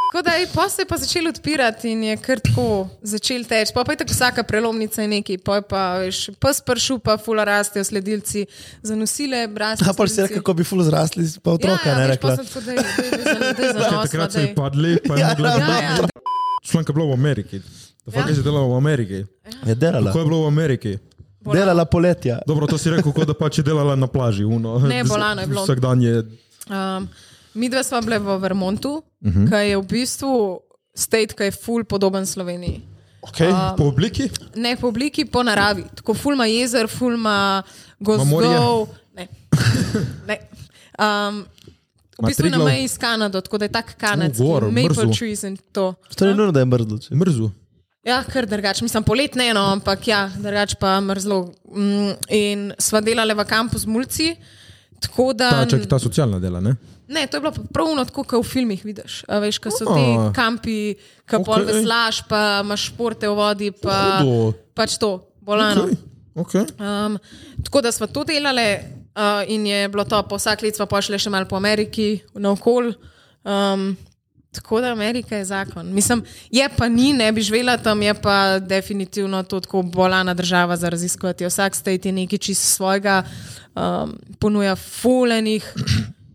Tako da je posel pa začel odpirati in je kar tako začel teči. Pa, pa je tako vsaka prelomnica je nekaj, pa je pa veš, pes pršu, pa fula rastejo sledilci, zanosile, brasti.
A pa Ja, si rekel, kako bi ful zrasli, pa otroka
ja,
ne
veš, pol
rekla.
sem tako, daj, daj, daj za- daj za nos,
Takrat so
ma,
ji
daj.
padli, pa je
Ja,
mogla
ja,
zdaj.
Ja, ja.
Članka je bila v Ameriki. Da fakt je že delala v Ameriki.
Ja.
Je delala.
Kako je bilo v Ameriki?
Delala poletja.
Dobro, to si rekel, kot da pač je delala na plaži. Uno.
Ne, bolano je bilo.
Vsak dan je.
Um, mi dva sva bile v Vermontu, uh
Mhm.
-huh. ki je v bistvu state, ki je ful podoben Sloveniji.
Okay. Um, po obliki?
Ne po obliki, po naravi. Tako fulma jezer, fulma
morje?
gozdov. Ne. ne. Um, v
Ma
bistvu je na
Triglav?
meji s Kanado, tako da je tak kanadski,
gor,
maple
mrzlo.
trees in to.
To ni nujno, da je mrzlo. če-
Mrzu.
Ja, kar drugače, mislim, poletne, no, ampak ja, drugače pa mrzlo. Mm, In sva delali v kampu z mulci, tako da.
Ta, čak, ta socialna dela, ne?
Ne, to je bilo pa pravno tako, kot v filmih vidiš. A Veš, ko so ti
A.
kampi, ki okay. pol
Okej.
veslaš, pa imaš športe v vodi, pa
Hudo.
pač to, bolano.
Okay. Okay.
Um, tako da smo to delali uh, in je bilo to, po vsak let smo pošli še malo po Ameriki, naokol. Um, tako da Amerika je zakon. Mislim, je pa ni, ne bi živela tam, je pa definitivno to tako bolana država za raziskovati. Vsak state je nekaj čist svojega, um, ponuja fulenih.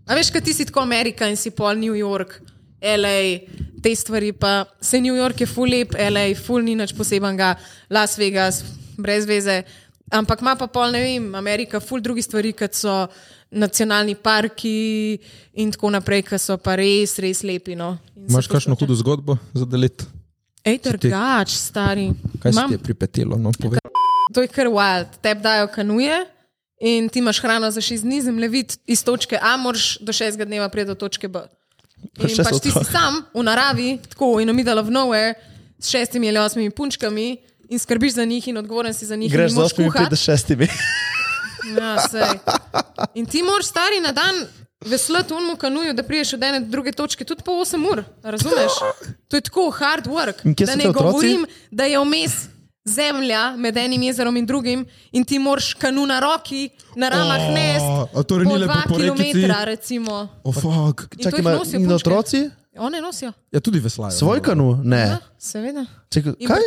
A veš, kaj ti si tako Amerika in si pol New York. LA, te stvari pa, se New York je full lep, LA, full ni nič posebenega, Las Vegas, brez veze. Ampak ima pa pol, ne vem, Amerika, full drugih stvari, kot so nacionalni parki in tako naprej, ki so pa res, res lepi. No. In se
Imaš kakšno
posluša.
hudo zgodbo za deliti?
Ej, trgač, stari.
Kaj se
Imam-
ti je pripetilo? No, povej.
to je kar wild. Te dajo kanuje in ti imaš hrano za šest dni, zemljevid iz točke A, moraš do šestega dneva priti do točke B. In
še so
pač ti si
otroci.
sam v naravi, tako in omidala v nove, s šestimi ali osmimi punčkami. in skrbiš za njih in odgovoren si za njih. in jim
Greš z
moraš
8,56.
Ja, saj. in ti moraš stari na dan veslati v unmu kanuju, da priješ od ene do druge točke, tudi po 8 ur. Razumeš? To je tako hard
In
work.
kje
Da
so
ne
te otroci?
govorim, da je vmes zemlja med enim jezerom in drugim in ti moraš kanu na roki, na ramah
O, a
nest.
torej ni
po
le
dva
po rekici?
kilometra, recimo.
Oh, fuck.
In to
Čakaj,
jih
ima
nosijo
in
punčke.
otroci?
One nosijo.
Ja, tudi veslajo. no.
Svoj kanu? Ne.
Eh.
Ja, seveda.
Čakaj,
In
kaj?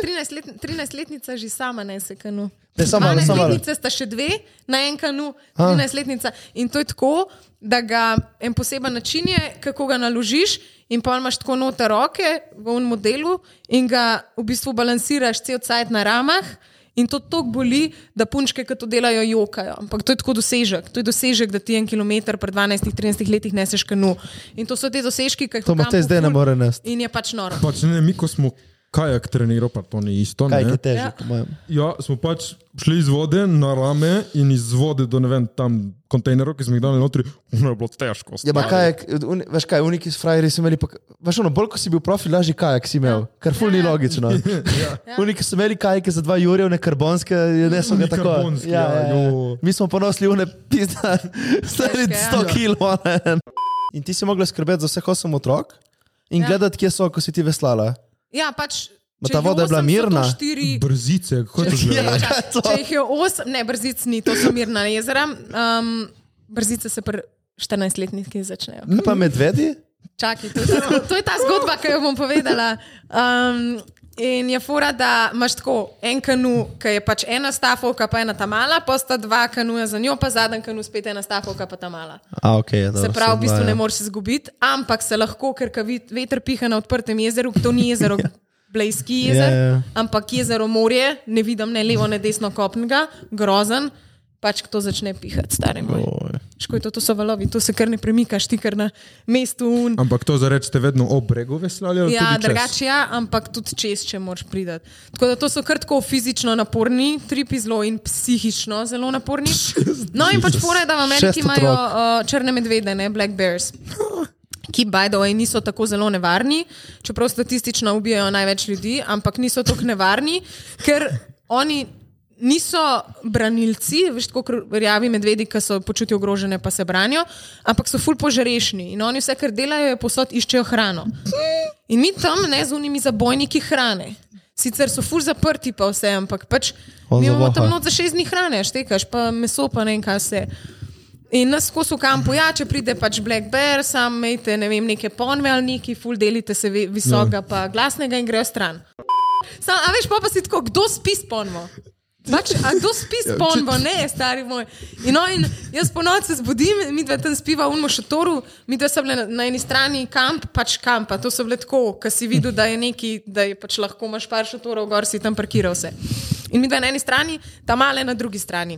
13-letnica 13 že sama ne se kanu.
Ne, samo malo, samo malo.
12-letnice sta še dve na en kanu, 13-letnica. In to je tako, da ga en poseben način je, kako ga naložiš, in pa imaš tako note roke v unem modelu in ga v bistvu balansiraš cel cajt na ramah. In to tako boli, da punčke, ki to delajo, jokajo. Ampak to je tako dosežek. To je dosežek, da ti en kilometr pred 12-13 letih neseš kanu. In to so te dosežki, ki jih
To Matej zdaj ne more nesti.
In je pač noro.
Pač ne, mi ko smo kajak trenirali, pa to ni isto.
Kaj je
ne.
težje,
Ja.
po mojem?
Ja, smo pač šli iz vode na rame in iz vode do ne vem, tam kontejnerov, ki smo jih dali notri, ono je bilo težko.
Ja, ma
stari.
kajak, un, veš kaj, uniki s frajerji so imeli, pa, veš ono, bolj ko si bil profil, lažje kajak si
Ja.
imel, kar ful ni logično. Uniki so imeli kajake za dva jurja, ne karbonske, ne so ga
Oni
tako.
karbonski, ja, jo.
Mi smo ponosili une pizda, stari
Težke, ja.
100 kilo. ne. In ti si mogla skrbeti za vseh osem otrok in
Ja.
gledati, kje so, ko si ti veslala.
Ja, pač,
Ma
če
ta
jih
voda je bila
osem, so to
mirna?
Štiri,
Brzice, kako je to že?
Ja, to.
Čakaj, Če jih je osem, ne brzic ni, to so mirna jezera. Um, brzice se pri 14-letniki začnejo.
Kaj pa medvedi?
Čakaj, to, je ta zgodba, to je ta zgodba, ki jo bom povedala. Um, in je fora, da imaš tako en kanu, ki je pač ena stavka, pa ena ta mala, pa sta dva kanuja za njo, pa zadnji kanu spet ena stavka, pa ta mala.
A, okay, dobro,
Se pravi, v bistvu
dva,
ne
ja.
moreš izgubiti, ampak se lahko, ker ka vid- veter piha na odprtem jezeru, to ni jezero, Blejski jezer,
Ja, ja.
ampak jezero morje, ne vidim ne levo, ne desno kopnega, grozen, pač kdo začne pihati, stari moj.
Oj.
Škoda, to, to so valovi, to se kar ne premikaš, ti kar na mestu. Un.
Ampak to zarečete vedno ob bregu veslali ali
Ja,
tudi čez?
drugače ja, ampak tudi čez, če moraš priti. Tako da to so kar tako fizično naporni, tripi zelo in psihično zelo naporni. No in pač fora je, da v
Šest
Ameriki
otrok.
imajo uh, črne medvede, ne black bears. Ki, by the way, niso tako zelo nevarni, čeprav statistično ubijajo največ ljudi, ampak niso tako nevarni, ker oni niso branilci, veš, tako kot rjavi medvedi, ki so počutijo ogrožene, pa se branijo, ampak so ful požrešni in oni vse, kar delajo, je posod iščejo hrano. In mi tam ne z unimi zabojniki hrane. Sicer so fur zaprti, pa vse, ampak pač
On
mi imamo tam
zavoha.
noč za šest dni hrane, štekaš, pa meso, pa ne vem kaj vse. In nas skozi v kampu, ja, če pride pač Black Bear, sam imejte ne vem, neke ponve ali neki, ful delite se vi- visokega, no. pa glasnega in grejo stran. Sam, a veš, pa, pa si tako, kdo spi s ponvo? Pač, a kdo spi s ponvo, ne, stari moj. In, no, in jaz po noči se zbudim, mi dva tam spiva v Mošatoru, mi dva sta bila na, na eni strani kamp, pač kampa. To so bile tako, ko si videl, da je neki, da je pač lahko imaš par šatorov, gor si tam parkiral vse. In mi dva na eni strani, ta male na drugi strani.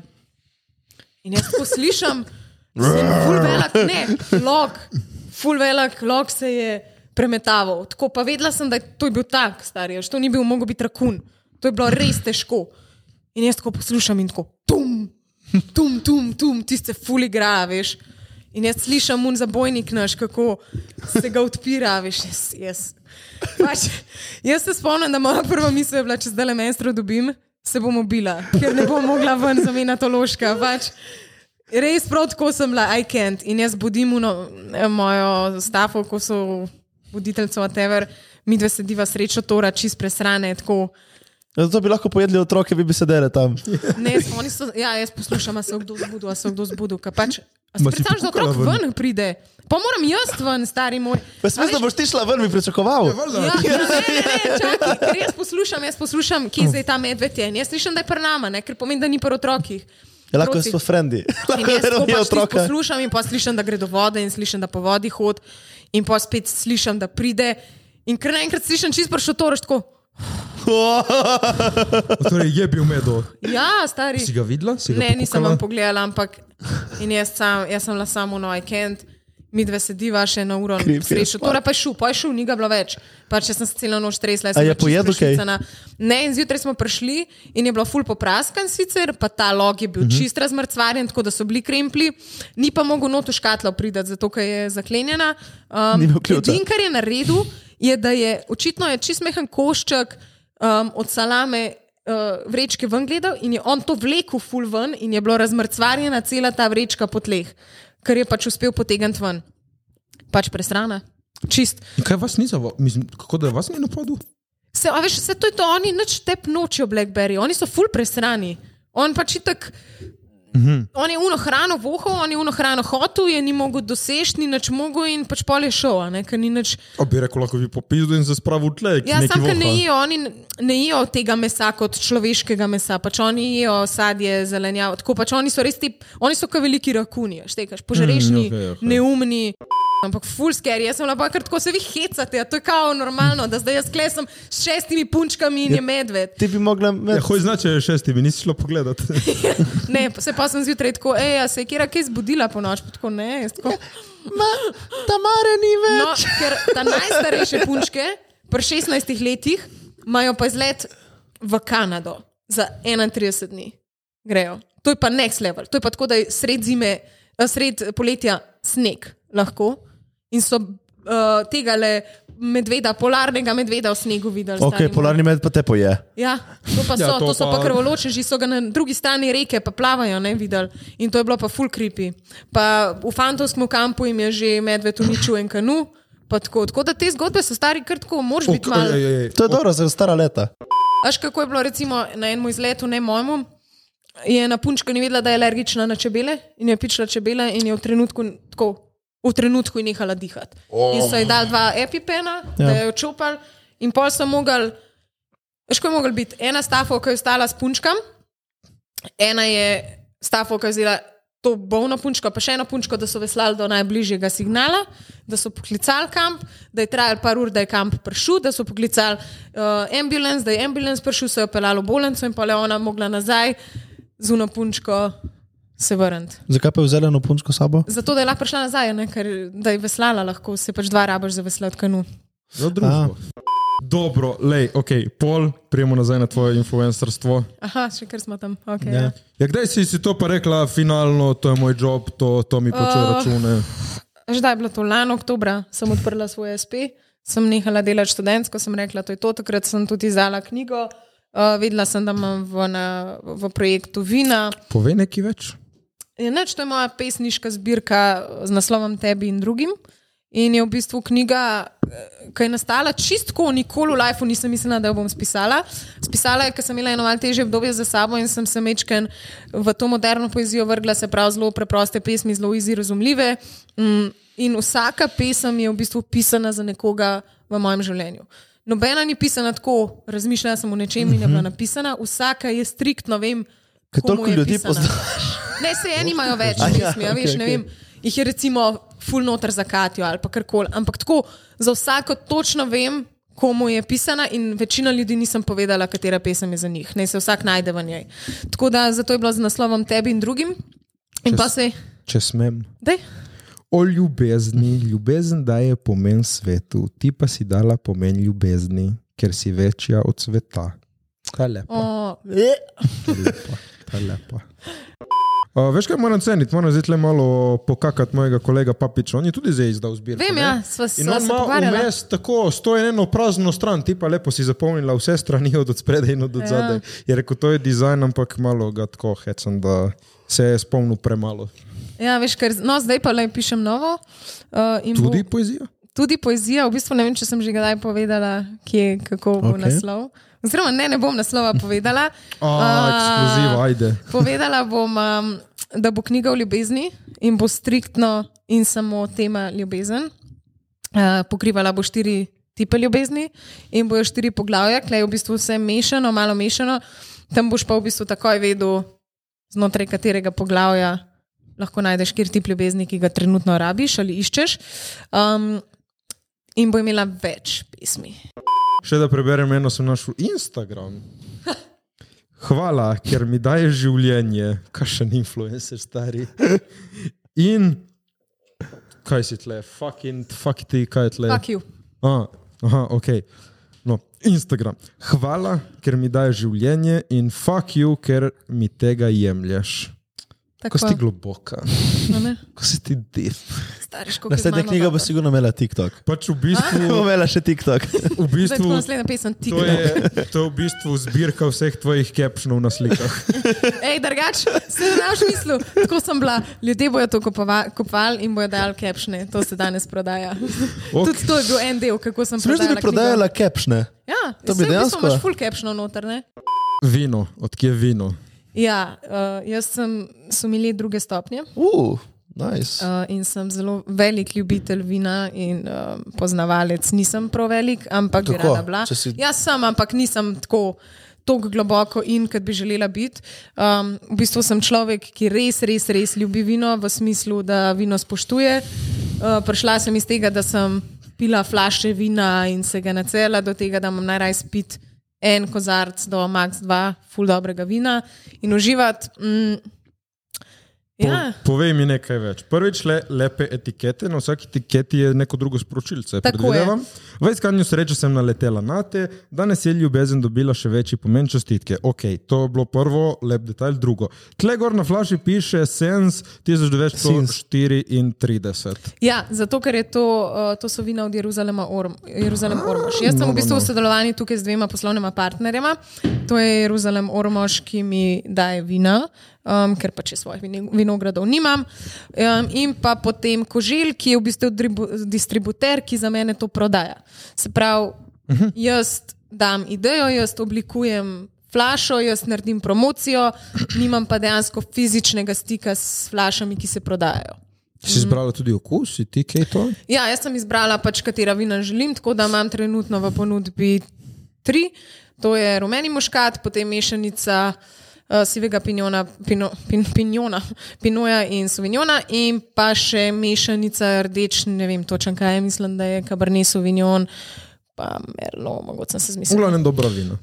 In jaz tako slišim, se je ful velik, ne, lok, ful velik, lok se je premetaval. Tako pa vedela sem, da je to je bil tak, stari, veš, to ni bil mogel biti rakun. To je bilo res težko. In jaz tako poslušam in tako, tum, tum, tum, tum tiste ful igra, veš. In jaz slišim un zabojnik naš, kako se ga odpira, veš, jaz. jaz. Pač, jaz se spomnim, da moja prva misel je bila, če zdaj le menstro dobim, se bom ubila, ker ne bom mogla ven zamenjati loška. Pač, Res prav tako sem bila, I can't. In jaz budim uno, mojo stafo, ko so voditeljci, whatever, mi dve sediva srečo, tora čist presrane, tako.
Ja, Zato bi lahko pojedli otroke, vi bi sedeli tam.
Ne, jaz, oni so, ja, jaz poslušam, a se je kdo zbudil, a se je kdo zbudil. ka Pač, a si
Ma si
predstavljaš, da
pokukala
otrok
ven?
ven pride? Pa moram jaz ven, stari moj.
Pa sem
A
mislil,
veš,
da boš ti šla ven, bi pričakoval.
Valjda.
Ja, ne, ne, ne, čakaj, ker jaz poslušam, jaz poslušam, kje zdaj ta medved je. In Jaz slišim, da je pri nama, ne, ker pomeni, da ni pri otrokih.
Ja, lahko
Proti.
so frendi.
In
Lahko
jaz
ne
tako
rabijo
pač tisto
otroka.
poslušam in pa slišim, da gre do vode in slišim, da po vodi hod in pa spet slišim, da pride in kar naenkrat slišim čist pršo to roštko.
Torej je bil medo.
Ja, stari.
Si ga videla? Si ga
Ne, nisem
pokukala?
vam pogledala, ampak in jaz, sam, jaz sem bila samo no weekend. Mi dve sediva še na uro,
Creepy as
srečo. Torej pa je šel, pa je šel, ni ga bilo več. Pa če sem se celo noč tresla, jaz
A
sem
je
bila čisto
pojedel kaj?
prešvicana. Ne, in zjutraj smo prišli in je bilo ful popraskan sicer, pa ta log je bil
Mhm.
uh -huh. čist razmrcvarjen, tako da so bili krempli. Ni pa mogel not v škatlo priti, zato ker je zaklenjena.
Ni
Um,
imel ključa.
edin, kar je naredil, je, da je očitno je čist mehen košček um, od salame uh, vrečke ven gledal in je on to vlekel ful ven in je bilo razmrcvarjena cela ta vrečka po tleh, ker je pač uspel potegniti ven. Pač presrana. Čist.
In Kaj vas ni zavalo? Kako da vas ni napadlo?
Se, a veš, se to je to, oni nič tep nočijo Blackberry, oni so ful presrani. On pač itak. Mm -hmm.
Mhm.
On je uno hrano vohal, on je uno hrano hotel, je ni mogel doseči, ni nič mogel in pač pol je šel, a ne, ker ni nič.
A bi rekel, lahko bi popizdo in se spravil tleh.
Ja, sam, ker ne jejo, oni n- ne jejo tega mesa kot človeškega mesa, pač oni jejo sadje, zelenjavo. Tako pač oni so res ti, oni so kot veliki rakuni, štekaš, požrešni,
Mm, okej,
mm,
okej.
okay, neumni. Ampak fulsker, jaz sem lepa, ker tako se vi hecate, a to je kao normalno, da zdaj jaz klesam s šestimi punčkami in je medved.
Ti bi mogla imeti.
Ja, hoj znači, je šesti, mi nisi šlo pogledat.
Ne, pa se pa sem zjutraj tako, ej, a se je kera kaj zbudila po noč, Pa tako ne, jaz tako.
Ma, Tamare ni več.
No, ker ta najstarejše punčke, pri 16 letih, imajo pa izlet v Kanado za 31 dni. Grejo. To je pa next level. To je pa tako, da je sred zime, eh, sred poletja sneg lahko in so uh, tega le medveda, polarnega medveda v snegu videli.
Ok,
stari moj.
polarni med pa te poje.
Ja, to pa so, ja, to to so pa, pa krvoločni, že so ga na drugi strani reke, pa plavajo, ne videli. In to je bilo pa full creepy. Pa v fantovskem kampu jim je že medved uničil en kanu. pa Tako, tako da te zgodbe so stari krtko, moraš biti malo.
To je dobro, za stara leta.
Až kako je bilo recimo na enem izletu, ne mojemu, je na punčko ni vedela, da je alergična na čebele in je pičila čebele in je v trenutku tako. V trenutku je nehala dihati. Oh. In so ji dali dva epipena, ja. da
Ja.
je jo čopal, in pol so mogli, še kako je mogel biti, ena stafo, ki je ostala s punčkam, ena je stafo, ki je vzela to bolno punčko, pa še eno punčko, da so veslali do najbližjega signala, da so poklicali kamp, da je trajal par ur, da je kamp prišel, da so poklicali uh, ambulance, da je ambulance prišel, so jo pelali v bolnico in pa le ona mogla nazaj z uno punčko se vrniti.
Zakaj pa je vzela eno punčko s sabo?
Zato, da je lahko prišla nazaj, ne, ker da je veslala, lahko se pač dva rabaš za veslati kanu.
Za družbo.
A.
Dobro, lej, ok, pol, prijemo nazaj na tvoje influencerstvo.
Aha, še kar smo tam. Okay, ja.
Ja.
Ja, kdaj si, si to pa rekla, finalno, to je moj job, to, to mi poče uh.
Ah.
račune.
Že da je bilo to lani oktobra, sem odprla svoj SP, sem nehala delati študentsko, sem rekla, to je to, takrat sem tudi izdala knjigo. Uh, vedela sem, da imam v, na, v projektu Vina.
Povej nekaj več.
Je Neč, to je moja pesniška zbirka eh, z naslovom Tebi in drugim. In je v bistvu knjiga, eh, ki je nastala čistko, nikoli v lifeu nisem mislila, da jo bom spisala. Spisala je, ker sem imela eno malce težje obdobje za sabo in sem se mečken v to moderno poezijo vrgla, se pravi zelo preproste pesmi, zelo izi razumljive. Mm, In vsaka pesem je v bistvu pisana za nekoga v mojem življenju. Nobena ni pisana tako, razmišljala sem o nečem in je bila napisana, vsaka je striktno, vem,
Mhm. Ker
komu
toliko
je
ljudi
pisana.
poznaš.
Ne, se eni imajo več,
A ja,
ja, pesmi, ja, okay, veš,
okej,
ne
okej.
vem. Jih je recimo full noter za Katijo ali pa karkoli. Ampak tako, za vsako točno vem, komu je pisana in večina ljudi nisem povedala, katera pesem je za njih. Ne se vsak najde v njej. Tako da zato je bilo z naslovom tebi in drugim. In pa se,
Če smem.
da,
O ljubezni. Ljubezen daje pomen svetu, ti pa si dala pomen ljubezni, ker si večja od sveta. Ta lepa.
Oh.
Ta lepa. Uh, veš, kaj moram ceniti? Moram zdaj le malo pokakati mojega kolega Papiča. On je tudi zdaj izdal zbirko.
vem,
ne?
ja, sva
In on
sva se
ima
pogovarjala.
vmes tako, stoji eno prazno stran, ti pa lepo si zapomnila vse strani od od spredaj in od od
Ja.
zadaj. Je rekel, to je dizajn, ampak malo ga tako hecam, da se je spomnil premalo.
Ja, veš, ker, no, zdaj pa le pišem novo. Uh, in bo-
Tudi poezija?
tudi poezija, v bistvu ne vem, če sem že kdaj povedala, kje, kako bo
Okej.
okay. naslov. Oziroma, ne, ne bom naslova povedala.
A, ekskluziva, ajde.
Povedala bom, um, da bo knjiga o ljubezni in bo striktno in samo tema ljubezen. Uh, pokrivala bo štiri tipe ljubezni in bojo štiri poglavja, klej je v bistvu vse mešano, malo mešano. Tam boš pa v bistvu takoj vedel, znotraj katerega poglavja lahko najdeš kjer tip ljubezni, ki ga trenutno rabiš ali iščeš. Um, in bo imela več pesmi.
Še da preberem eno, sem našel Instagram. Hvala, ker mi daje življenje, kakšen influencer stari. In kaj si tle, fucking, fuck ti, kaj je tle.
Fuck you.
A, aha, ok. No, Instagram. Hvala, ker mi daje življenje in fuck you, ker mi tega jemlješ.
Tako
Ko si ti globoka,
a ne?
ko si ti dev.
Stari škofje.
Naslednja knjiga bo sigurno imela TikTok.
Pač v bistvu,
Imela še TikTok.
v
Ah, Zdaj tako
bistvu
naslednja pesem ti.
to, je, to je v bistvu zbirka vseh tvojih captionov na slikah.
Ej, drugač, se ne znaš mislil. Tako sem bila. Ljudje bojo to kupova- kupovali in bojo dajali capšne. To se danes prodaja. Okay. Tudi to je bil en del, kako sem
Smeš, da bi
knjigo.
prodajala capšne?
Ja,
To
to
bi
bi dejansko.
dejansko-
Imaš full capšno noter, ne?
Vino, odkje je vino?
Ja, uh, jaz sem sumili druge stopnje.
Uf, nice.
Uh, in sem zelo velik ljubitelj vina in uh, poznavalec. Nisem prav velik, ampak bi
Tako,
rada bila.
če si-
Jaz sem, ampak nisem tako. Tako globoko in kot bi želela biti. Um, v bistvu sem človek, ki res, res, res ljubi vino, v smislu, da vino spoštuje. Uh, prišla sem iz tega, da sem pila flaše vina in se ga nacela, do tega, da imam najraje spiti en kozarc do max 2, full dobrega vina in uživati. Mm,
Po,
ja.
povej mi nekaj več. Prvič, le, lepe etikete, na vsaki etiketi je neko drugo sporočilce.
Tako je.
predvidevam. V iskanju sreče sem naletela na te, danes je ljubezen dobila še večji pomen čestitke. Ok, to je bilo prvo, lep detajl, drugo. Tle gor na flaši piše Sens 1934.
Ja, zato ker je to, uh, to so vina od Jeruzalema Orm, Jeruzalem Ormož. Jaz sem v bistvu v sodelovanju tukaj z dvema poslovnima partnerjema. To je Jeruzalem Ormož, ki mi daje vina, um, ker pač jaz svojih vine- vinogradov nimam. Um, in pa potem Kožil, ki je v bistvu dribu- distributer, ki za mene to prodaja. Se pravi, jaz dam idejo, jaz oblikujem. Flašo, jaz naredim promocijo, nimam pa dejansko fizičnega stika s flašami, ki se prodajajo.
Si izbrala tudi okus, si ti kaj to?
Ja, jaz sem izbrala, pač, katera vina želim, tako da imam trenutno v ponudbi tri. To je rumeni muškat, potem mešanica uh, sivega pinjona, pino, pin, pinjona, pinoja in sovinjona, in pa še mešanica rdeč, ne vem točno kaj je, mislim, da je kabrni sovinjon. Pa merlo, mogoče sem se zmislil.
Uglavnem dobra vina.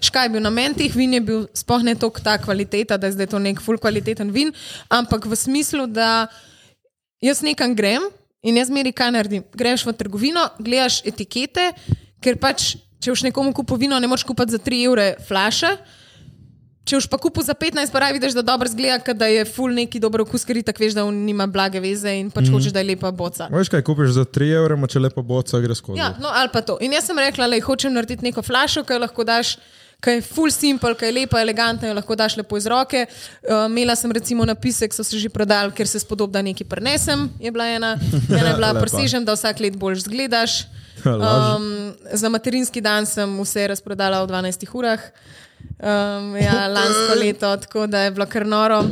Škaj je bil namen teh vin, je bil sploh ne toliko ta kvaliteta, da je zdaj to nek full kvaliteten vin, ampak v smislu, da jaz nekam grem in jaz meri kaj naredim. Greš v trgovino, gledaš etikete, ker pač, če boš nekomu kupil vino, ne moreš kupiti za 3 evre flaše. Če boš pa kupil za 15, pa raje vidiš, da dobro zgleda, ker da je full neki dober okus, ker tako veš, da on nima blage veze in pač mm. hočeš, da je lepa boca.
Veš kaj, kupiš za 3 evre, ma če lepa boca gre skozi.
Ja, no, ali pa to. In jaz sem rekla, da hočem narediti neko flašo, ki jo lahko daš. Kaj je full simple, kaj je lepa, elegantna, jo lahko daš lepo iz roke. Uh, imela sem recimo napisek, so se že prodali, ker se spodoba nekaj prenesem. Je bila ena, ena je bila
Lepa.
presežen, da vsak let bolj zgledaš.
Laž.
Um, za materinski dan sem vse razprodala v 12 urah. Um, ja, lansko leto, tako da je bilo kar noro.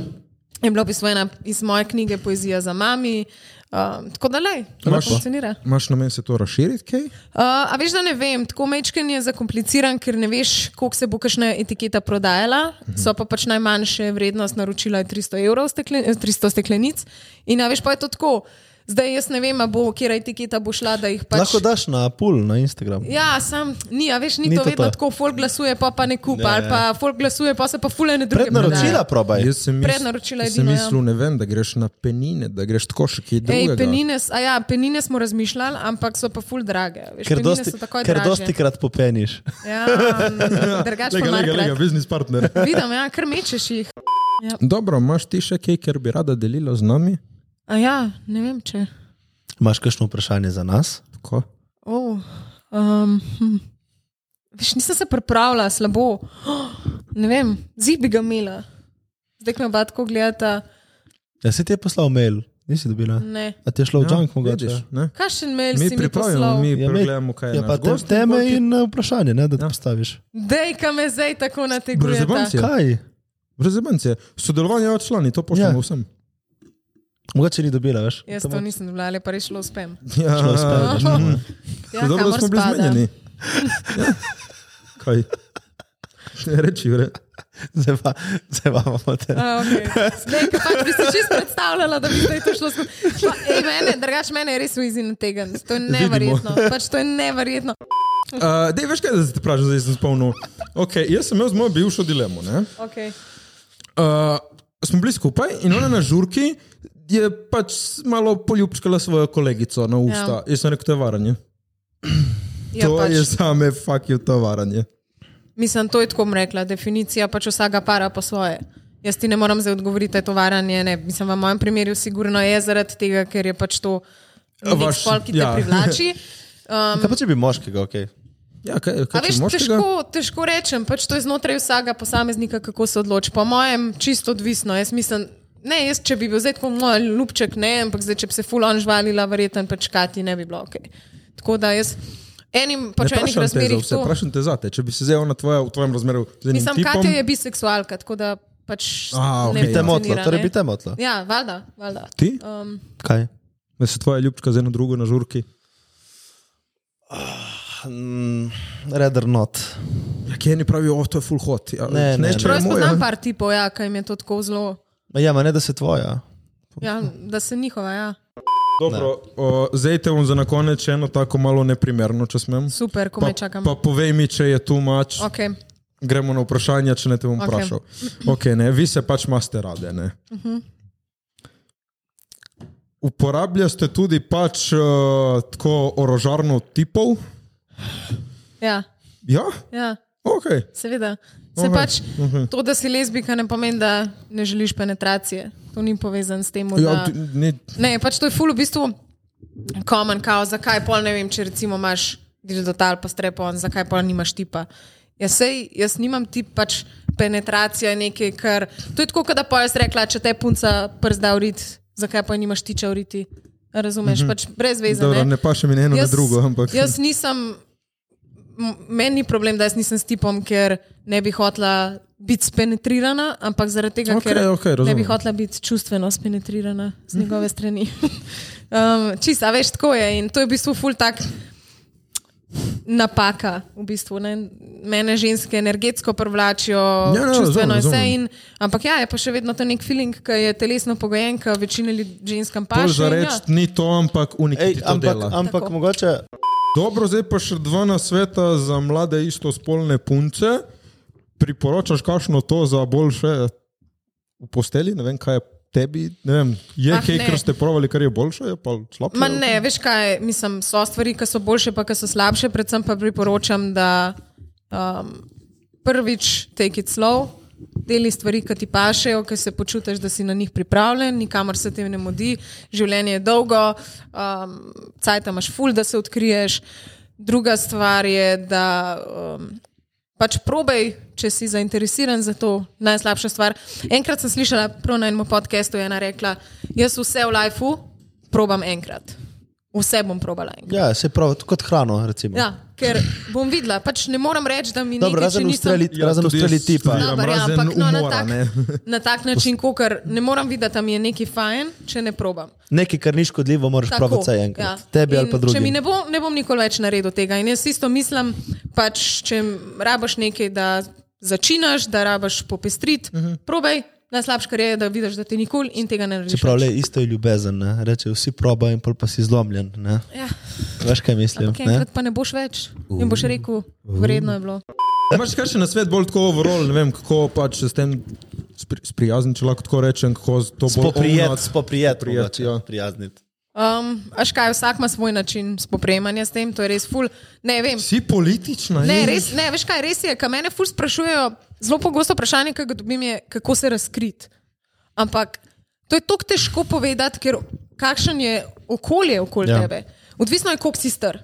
Je bilo v bistvu ena iz moje knjige Poezija za mami. Um, tako da le, to
Imaš-
funkcionira.
Imaš namen se to razširiti, kaj?
Uh, a veš, da ne vem, tako mečken je zakompliciran, ker ne veš, koliko se bo kakšna etiketa prodajala. So pa pač najmanjše vrednost naročila je 300 evrov, steklen, eh, 300 steklenic. In a veš, pa je to tako. Zdaj jaz ne vem, a bo, kera etiketa bo šla, da jih pač.
Lahko daš na pul na Instagram.
Ja, sam ni, a veš, ni,
Ni
ni to,
to
to vedno
to.
tako, folk glasuje, pa pa ne kupa, ali pa folk glasuje, pa se pa fule ne druge.
Prednaročila probaj.
Jaz sem mis-
Prednaročila
sem
edino, ja.
mislil, ne vem, da greš na penine, da greš tako še kaj
Ej,
drugega.
penines, a ja, penine smo razmišljali, ampak so pa ful drage. a Veš,
Ker
penine
dosti,
so takoj
ker
drage.
dosti krat popeniš.
Ja, drugače pa
Lega, lega, lega,
markrat.
biznis partner.
Vidim, ja, kar mečeš jih.
Dobro, imaš ti še kaj, kar bi rada delila z nami?
A ja, ne vem če.
Imaš kakšno vprašanje za nas?
Tako.
Oh, um, hm. Veš, nisem se pripravila, slabo. Oh, ne vem, zig bi ga imela. Zdaj, ko me oba tako gledata,
Ja, si ti je poslal mail, nisi dobila.
ne.
A ti je šlo v junk mogoče?
Ja, vidiš, ne?
Kakšen mail
Mi
si mi
pripravljamo,
poslal?
mi
Ja, mail.
pregledamo, kaj je.
Ja,
naš
pa te
gost in
teme
pol ti-
in eh, vprašanje, ne, da ja. postaviš.
Dej, kam me zdaj tako
Brez
nateguje.
zabanci. Ja.
Kaj?
Brez zebence. Sodelovanje od člani, to pošljemo
Ja.
vsem.
Mogoče ni dobila, veš?
Jaz to nisem dobila, ali pa rešila uspem.
Ja,
Šlo spet, veš, ne.
Ja,
dobro, da
kamor
smo bili
spada.
zmenjeni. Ja. Kaj? Reči, vre.
Zdaj pa, zdaj pa imamo te.
A, okej. Zdaj, ko pač bi si čist predstavljala, da bi zdaj to šlo skozi. Pa, ej, mene, Drugač, mene je res uizin tega. To je neverjetno. Pač to je neverjetno.
Uh, dej, veš kaj, da se te vprašam, zdaj sem spomnil. Okay, jaz sem imel z mojo bivšo dilemo. Ne?
Okay.
Uh, smo bili skupaj in ona na žurki je pač malo poljubčkala svojo kolegico na usta. Ja. Jaz sem rekel, to je varanje.
Ja,
to
pač.
je same fakil, to je varanje.
Mislim, to je tako bom rekla, definicija pač vsaka para po svoje. Jaz ti ne morem zdaj odgovoriti, da je to varanje. Ne. Mislim, v mojem primeru sigurno je zaradi tega, ker je pač to
A
nek
vaš-
spol, ki te
ja.
privlači. Um,
Kaj pa če bi moškega, ok.
Ja, kaj,
A
kaj
veš, težko, težko rečem, pač to je znotraj vsakega posameznika, kako se odloči. Po mojem, čisto odvisno. Jaz mislim, ne, jaz, če bi bil zdaj tako moj ljubček, ne, ampak zdaj, če bi se full on žvalila, verjetno pač kati ne bi bilo ok. Tako da jaz enim, pač v enih razmerih
vse,
to.
vprašam te zate, če bi se zdaj ona tvoja, v tvojem razmeru z enim
Mislim,
tipom,
Katja je biseksualka, tako da pač
A,
ne
Bi
ok.
te
funkcionira,
motlo,
ne.
torej bi te motlo.
Ja, valjda, valjda.
ti,
Um,
Kaj?
da se tvoja ljubčka z eno drugo na žurki.
Mm, Rather not.
Ja, ki eni pravijo, oh, to je full hot. Ja,
Ne, ne, ne.
če je
Prav jaz
moja.
poznam par tipov, ja, ki jim je to tako zelo,
Ma Ja, ma ne, da se tvoja.
ja, da se njihova, ja.
Dobro, o, zdaj te bom za na konec še eno tako malo neprimerno, če smem.
super, ko me
Pa,
čakam.
pa povej mi, če je tu mač. Okay.
Okay.
Gremo na vprašanje, če ne te bom
Ok.
vprašal. Okay, ne, vi se pač imate rade. Ne?
Mhm.
Uporabljate tudi pač, uh, tako orožarno tipov?
Ja,
Ja,
ja.
ok.
Seveda. Se
Aha,
pač, to, da si lezbika, ne pomeni, da ne želiš penetracije. To ni povezano s tem,
Ja,
da.
d- ni,
Ne, pač to je ful v bistvu common kao, zakaj pol ne vem, če recimo imaš digital pa strepon, zakaj pol nimaš tipa. Jaz, sej, jaz nimam tip pač penetracija je nekaj, kar. To je tako, kot da pa jaz rekla, če te punca przda uriti, zakaj pa nimaš tiča uriti. Razumeš, mm -hmm. pač brez veze.
dobro,
ne?
ne paše mi ne eno, ne drugo. Ampak,
Jaz nisem, m- meni ni problem, da jaz nisem s tipom, ker ne bi hotla biti spenetrirana, ampak zaradi tega,
Okej,
ker
okej,
ne bi
razumem.
hotla biti čustveno spenetrirana z njegove strani. um, čist, a veš, tako je in to je v bistvu ful tak. Napaka, v bistvu. Ne? Mene ženske energetsko privlačijo,
Ja, ja,
ja,
razumem,
čustveno in vse.
razumem.
In, ampak ja, je pa še vedno ta nek feeling, ki je telesno pogojen, ki večini ljudi- ženskam paše.
Bolj
in
za reči,
ja.
ja. ni to, ampak unikati
Ej,
to
ampak
dela.
ampak
Tako.
mogoče
Dobro, zdaj pa še dva nasveta za mlade istospolne punce. Priporočaš kakšno to za boljše v posteli? Ne vem, kaj je tebi. Ne vem, je
Ah,
kaj,
ne.
kar ste provali, kar je boljše, je pa slabše.
Ma ne, veš kaj, mislim, so stvari, ki so boljše, pa ki so slabše. Predvsem pa priporočam, da um, prvič take it slow, deli stvari, ki ti pašejo, ki se počutiš, da si na njih pripravljen, nikamor se tem ne modi, življenje je dolgo, um, cajt imaš ful, da se odkriješ. Druga stvar je, da um, pač probej, če si zainteresiran za to, najslabša stvar. Enkrat sem slišala, prav na enem podkastu je ena rekla, jaz vse v lifeu probam enkrat. Vse bom probala enkrat.
Ja, se pravi, kot hrano. Recimo.
Ja, ker bom videla, pač ne morem reči, da mi nekaj,
Dobro,
če
razen
nisem...
ustreli,
Ja,
ja, razen
tudi jaz
ustreli tipa.
streliram.
Dobro, ja,
razen
ampak no, na,
umora,
tak,
ne.
na tak način, kot ne morem videti, da mi je nekaj fajn, če ne probam.
Nekaj, kar ni škodljivo, moraš
Tako,
praviti vsaj enkrat. Ja. Tebi
In
ali pa drugim.
Če mi ne bo, ne bom nikoli več naredil tega. In jaz isto mislim, pač, če rabaš nekaj, da začinaš, da rabaš popestriti, uh
Mhm.
-huh. probej. Najslabše, kar je, da vidiš, da ti nikoli in tega ne narediš.
Čeprav
več.
le isto je ljubezen, ne? reče vsi proba in pol pa si zlomljen. Ne?
Ja,
Veš kaj mislim?
ampak enkrat pa ne boš več. In
Uh.
boš rekel, vredno je bilo.
Imaš kar še na svet bolj tako overall, ne vem, kako pač se s tem spri, sprijazni, če lahko tako rečem, kako z to bolj
Spoprijeti,
ownati.
spoprijeti,
Sprijet, ja.
prijazniti.
Um, Aš kaj, vsak ima svoj način spoprijemanja s tem, to je res ful. Ne vem,
Si politična,
Ne,
je.
res, ne, veš kaj, res je, kaj mene ful sprašujejo, zelo pogosto vprašanje, ki ga dobim, je, kako se razkriti. Ampak to je tako težko povedati, ker kakšen je okolje okoli
Ja.
ja. tebe. Odvisno je, koliko si star.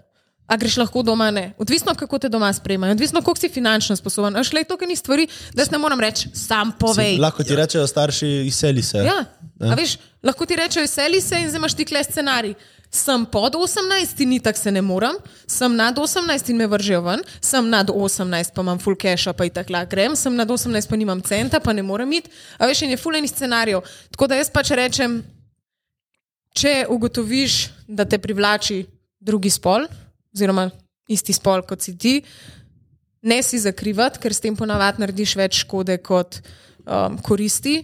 A greš lahko doma, ne. Odvisno, kako te doma sprejmejo, odvisno, koliko si finančno sposoben. A šle, to, kar ni stvari, da se ne moram reči, sam povej.
Si, lahko ti ja. rečejo starši, izseli se.
Ja. A Veš, lahko ti rečejo, seli se in zdaj imaš ti kle scenarij. Sem pod 18 in itak se ne morem, sem nad 18 in me vržejo ven, sem nad 18 pa imam full cache, pa itak lahko grem, sem nad 18 pa nimam centa, pa ne morem iti. A veš, in je full enih scenarijev. Tako da jaz pač rečem, če ugotoviš, da te privlači drugi spol, oziroma isti spol kot si ti, ne si zakrivati, ker s tem ponavadi narediš več škode kot um, koristi.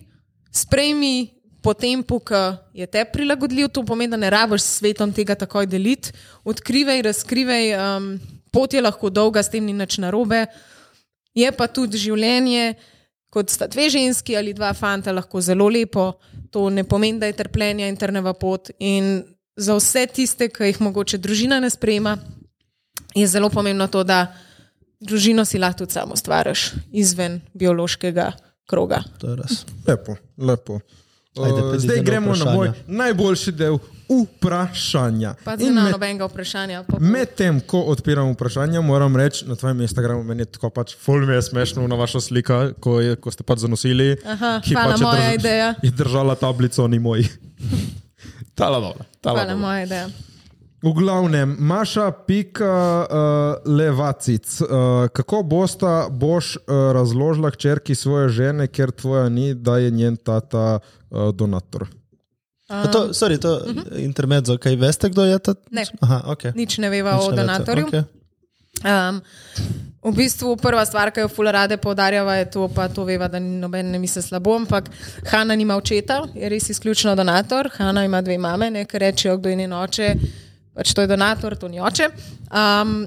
Sprejmi po tempu, ki je te prilagodljiv, to pomeni, da ne rabiš s svetom tega takoj deliti. Odkrivaj, razkrivaj, um, pot je lahko dolga, s tem ni nič narobe. Je pa tudi življenje, kot sta dve ženski ali dva fanta, lahko zelo lepo. To ne pomeni, da je trpljenje in trneva pot. In za vse tiste, ki jih mogoče družina ne sprejema, je zelo pomembno to, da družino si lahko tudi samo ustvariš izven biološkega kroga.
To je res.
Lepo, lepo.
Ajde,
Ajde,
pridi
Zdaj
zdaj na
gremo na moj
vprašanja.
najboljši del vprašanja.
Pa
In
zdaj ne
med-
nobenega vprašanja. pa bo-
Medtem, ko odpiram vprašanja, moram reči na tvojem Instagramu, meni je tako pač fulme je smešno na vašo sliko, ko, je, ko ste pač zanosili,
Aha,
ki
hvala,
pač je,
moja ideja.
je držala tablico, ni moj. Tala dobra. Tala
Hvala,
dobra.
moja ideja.
V glavnem, Maša, pika uh, levacic. Uh, kako bosta boš uh, razložila hčerki svoje žene, ker tvoja ni, da je njen tata uh, donator?
Um, to, sorry, to uh -huh. intermezzo, kaj veste, kdo je ta?
Mhm. Ne.
Aha, okay.
Nič ne veva o donatorju.
Okay.
Um, v bistvu prva stvar, ki jo fula rade poudarjava, je to, pa to veva, da ni noben ne misli slabo, ampak Hanna nima očeta, je res izključno donator. Hanna ima dve mame, ne, ki rečejo, kdo je njen oče, pač to je donator, to ni oče. Um,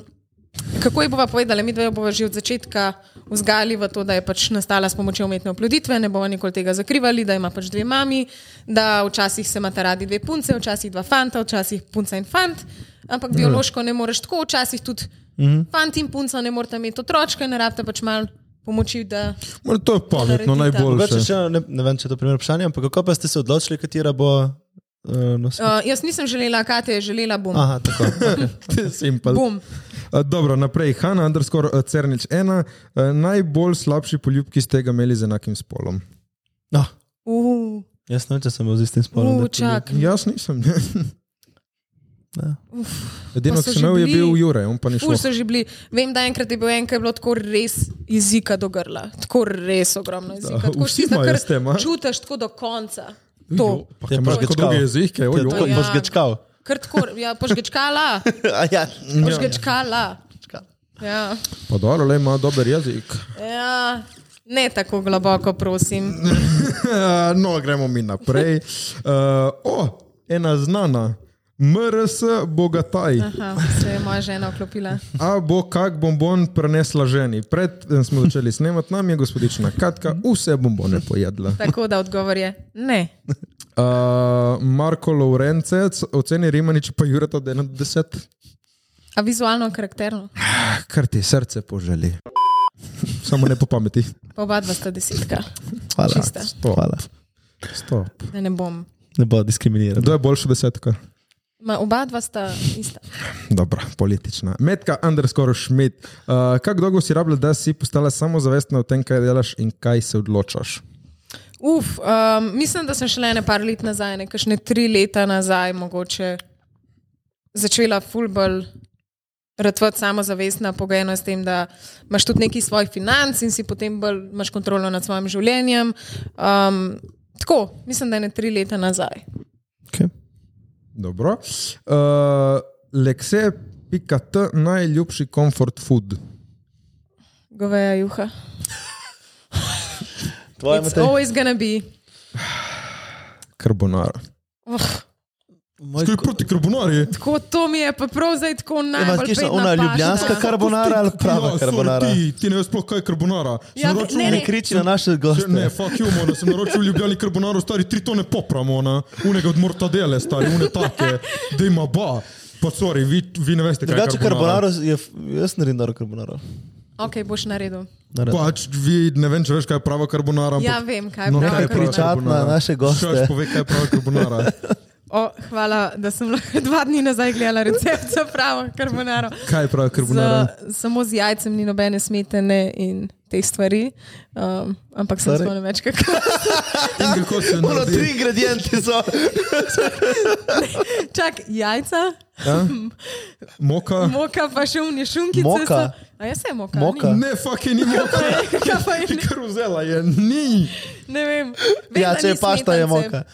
Kako ji bova povedala, mi dve jo bova že od začetka vzgajali v to, da je pač nastala s pomočjo umetne oploditve, ne bova nikoli tega zakrivali, da ima pač dve mami, da včasih se imata radi dve punce, včasih dva fanta, včasih punca in fant, ampak biološko ne moreš tako, včasih tudi mhm. fant in punca ne morata imeti otročka, ne rabta pač malo pomoči, da
Mora, to je pametno,
Naredita.
najboljše.
Mogoče še ne, ne vem, če je to primer vprašanja, ampak kako pa ste se odločili, katera bo uh, nosila?
Uh, jaz nisem želela, Katja je želela, bom.
Aha, tako. Okay.
Simpel.
bom.
Eh, Dobro, naprej. Hanna, underscore eh, Cernič 1, eh, najbolj slabši poljub, ki ste ga imeli z enakim spolom.
No,
Uh,
jaz ne vem, če sem bil z istim spolom.
uh,
da tudi-
čak.
Jaz nisem. ne.
Ne.
Edino,
Pa
ki
so že
sem imel, je
bili-
bil Jure, on pa ni šel.
Ful so že bili. Vem, da enkrat je bil en, ki je bilo tako res jezika do grla, tako res ogromno jezika. Tako
vsi
tisto,
imajo
kar
s tem, a?
Čutiš tako do konca. To.
Pa
Ti je
imaš
pač
tako
gečkal.
dolge jezike,
Ti
oj,
je
oj.
tako
Ja.
boš gečkal.
Kar tako, ja, požgečkala,
A ja.
požgečkala. Ja.
Pa dobro, le ima dober jezik.
Ja. Ne tako globoko, prosim.
no, gremo mi naprej. Uh, o, ena znana. MRS bogataj,
Aha, se je moja žena vklopila.
a bo kak bombon prenesla ženi. Pred eh, smo začeli snemati, nam je gospodična Katka vse bombone pojedla.
Tako da odgovor je ne.
Uh, Marko Lovrencec, oceni Rimanič pa Jureta 1 do 10.
A vizualno karakterno?
Ah, Kar ti srce poželi. Samo ne po pameti.
Pa oba dva sta desetka.
Hvala.
Čista.
Stop.
Hvala.
Stop.
Da ne bom.
Ne bo diskriminiran.
Kdo je boljši desetka?
Ma, oba dva sta ista.
Dobra, politična. Metka, underscore Schmidt. Uh, kako dolgo si rabila, da si postala samozavestna o tem, kaj delaš in kaj se odločaš?
Uf, um, mislim, da sem šele nekaj let nazaj, nekaj tri leta nazaj, mogoče začela fulbol ratvati samozavestna, pogojeno je s tem, da imaš tudi nekaj svojih financ in si potem bolj imaš kontrolo nad svojim življenjem. Um, tako, mislim, da je ne tri leta nazaj.
Okay.
Dobro. Uh, Lekse.t najljubši comfort food.
Goveja juha.
Tvoje
It's always gonna be.
Karbonara.
Oh,
Moj...
proti karbonari?
tako to mi je pa prav zdaj tako
Ima
najbolj.
kakšna
bedna
ona
pašta.
ljubljanska karbonara ali
no,
prava karbonara?
Ja, ti ne veš sploh, kaj je karbonara.
Ja, naročil- ne,
Ne kriči na naše goste.
Ne, fuck you, mono, sem naročil v Ljubljani karbonaro, stari tri tone popramo, ona, unega od mortadele, stari, une take, da ima ba. Pa sorry, vi, vi ne veste, kaj
Drugače
je karbonaro.
karbonaro je, jaz naredim dobro karbonaro.
Ok, boš naredil.
Naredim.
Pač vi ne vem, če veš, kaj je prava karbonara.
Ja,
ampak-
vem, kaj je
No,
prava
kaj je prava
karbonara.
Kričati na
karbonara?
naše goste.
Šaš, povej, kaj je prava karbonara.
O, hvala, da sem lahko dva dni nazaj gledala recept za pravo karbonaro.
Kaj je prava karbonara?
Z, samo z jajcem ni nobene smetene in teh stvari, um, ampak sem
Torej?
spomnil več kako.
In kako se naredi?
ingredienti so.
Čak, jajca,
Ja? Moka?
moka pa še unje šunkice.
Moka?
So, a jaz sem moka.
Moka?
Ne, fucking ni moka.
Ni. Kaj pa je,
Ti kar vzela je, ni.
ne vem. vem
Ja,
da
če
ni
je pašta, je
smetance.
moka.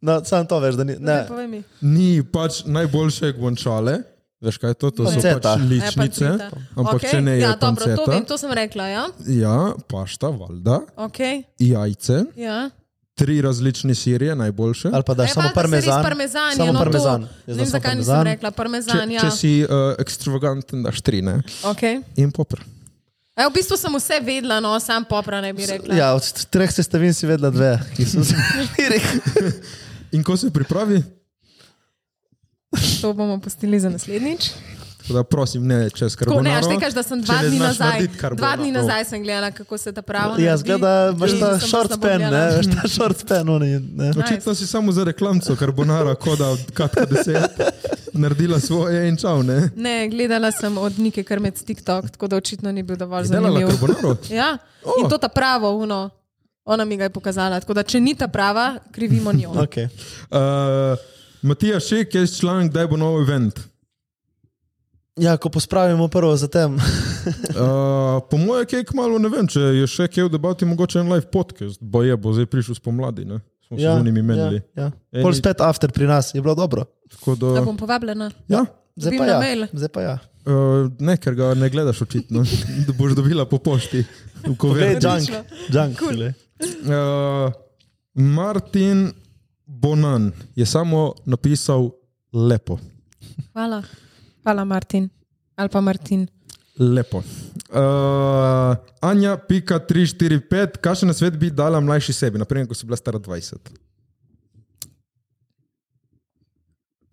No, sam to veš, da ni.
Ne,
Ne.
povej mi.
Ni pač najboljše guančale. Veš kaj je to? To so
Panceta.
pač
A ja,
ličnice.
panceta.
Ampak
Okej,
če ne je
ja, dobro,
panceta,
to vem, to sem rekla. Ja,
Ja, pašta, valjda,
okay,
jajce,
ja.
tri različne sirije, najboljše.
Ali pa daš
E,
samo
valjda se res
parmezan.
parmezan je,
Samo
no, to-
parmezan. Jaz
Ne
dam
vem,
samo
zakaj nisem
parmezan.
rekla
Če,
parmezan. ja.
če si uh, ekstravaganten, daš tri, ne?
Okay.
In popr.
E, v bistvu sem vse vedela, no, sam popra ne bi rekla.
Ja, od treh sestavin si vedela dve, ki so se štirih.
In ko se pripravi,
To bomo postili za naslednjič.
Tako da prosim, ne čez
Tako,
karbonaro.
ne, až tekaš, da sem dva
če ne
dni
znaš
nazaj.
narediti karbonaro.
Dva dni nazaj sem gledala, kako se ta prava.
Ja, zgleda, imaš ta short span, ne, veš, ta short span, oni, ne.
Očitno si samo za reklamco karbonara, kot da katka deset naredila svoje in čau, ne?
Ne, gledala sem od Nike Krmec TikTok, tako da očitno ni bil dovolj
Delala
zanimiv.
karbonaro.
Ja, in to ta pravo, uno. Ona mi ga je pokazala. Tako da, če ni ta prava, krivimo njo.
Okay.
Uh, Matija Šek je članek, da bo nov event. Eh,
Ja, ko pospravimo prvo za tem.
Uh, po mojem, kaj kmalo ne vem, če je še kaj v debati, mogoče en live podcast, bo je, bo zdaj prišel spomladi, ne? Smo se z njimi menili.
Ja, ja.
Eni-
Pol spet after pri nas, je bilo dobro.
Tako
Da
da,
bom povabljena.
ja,
Zdaj
Dobim
pa
na
ja.
mail.
Zdaj pa ja.
uh, ne, ker ga ne gledaš očitno, da boš dobila po pošti. v
Poglej,
kuverti.
junk, junk.
Cool.
Cool.
Uh, Martin Bonan je samo napisal lepo.
Hvala. Hvala, Martin. Ali pa Martin.
Lepo. Uh, Anja, pika 345, kakšen nasvet bi dala mlajši sebi, naprimer, ko si bila stara 20?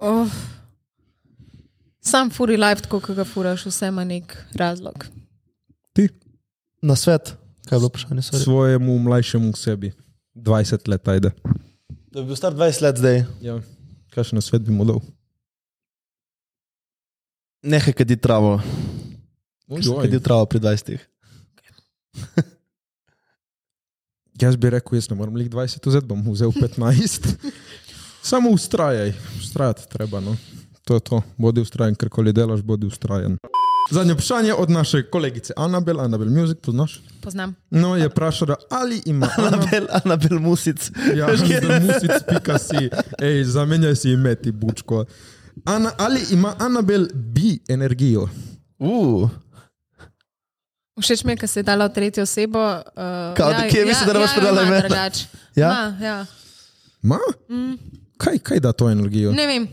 Oh. Sam furi life, tako kot ga furaš, vse ima nek razlog.
Ti?
Na svet, kaj je bilo vprašanje? Sorry.
Svojemu mlajšemu sebi, 20 let, ajde.
Da bi bil star 20 let zdaj.
Ja. Kakšen nasvet bi mu dal?
Nehaj kadi travo. Kadi travo pri 20.
Jaz bi rekel, jaz ne morem lih 20, zdaj bom vzel 15. Samo ustrajaj, ustrajati treba. No. To je to, bodi ustrajen, ker koli delaš, bodi ustrajen. Zadnje vprašanje od naše kolegice Anabel, Anabel Music, poznaš?
Poznam.
No, je vprašala, ali ima Anabel.
Anabel, Anabel Music.
Ja, music.si, ej, zamenjaj si ime ti bučko. Ana, ali ima Anabel bi energijo?
Uh,
Všeč mi je, ker si je dala v tretjo osebo. Uh,
Kao, kje misliš, da ne boš predala imena? Ja?
Ja? Ma, ja.
Ma? Kaj, kaj da to energijo?
Ne vem,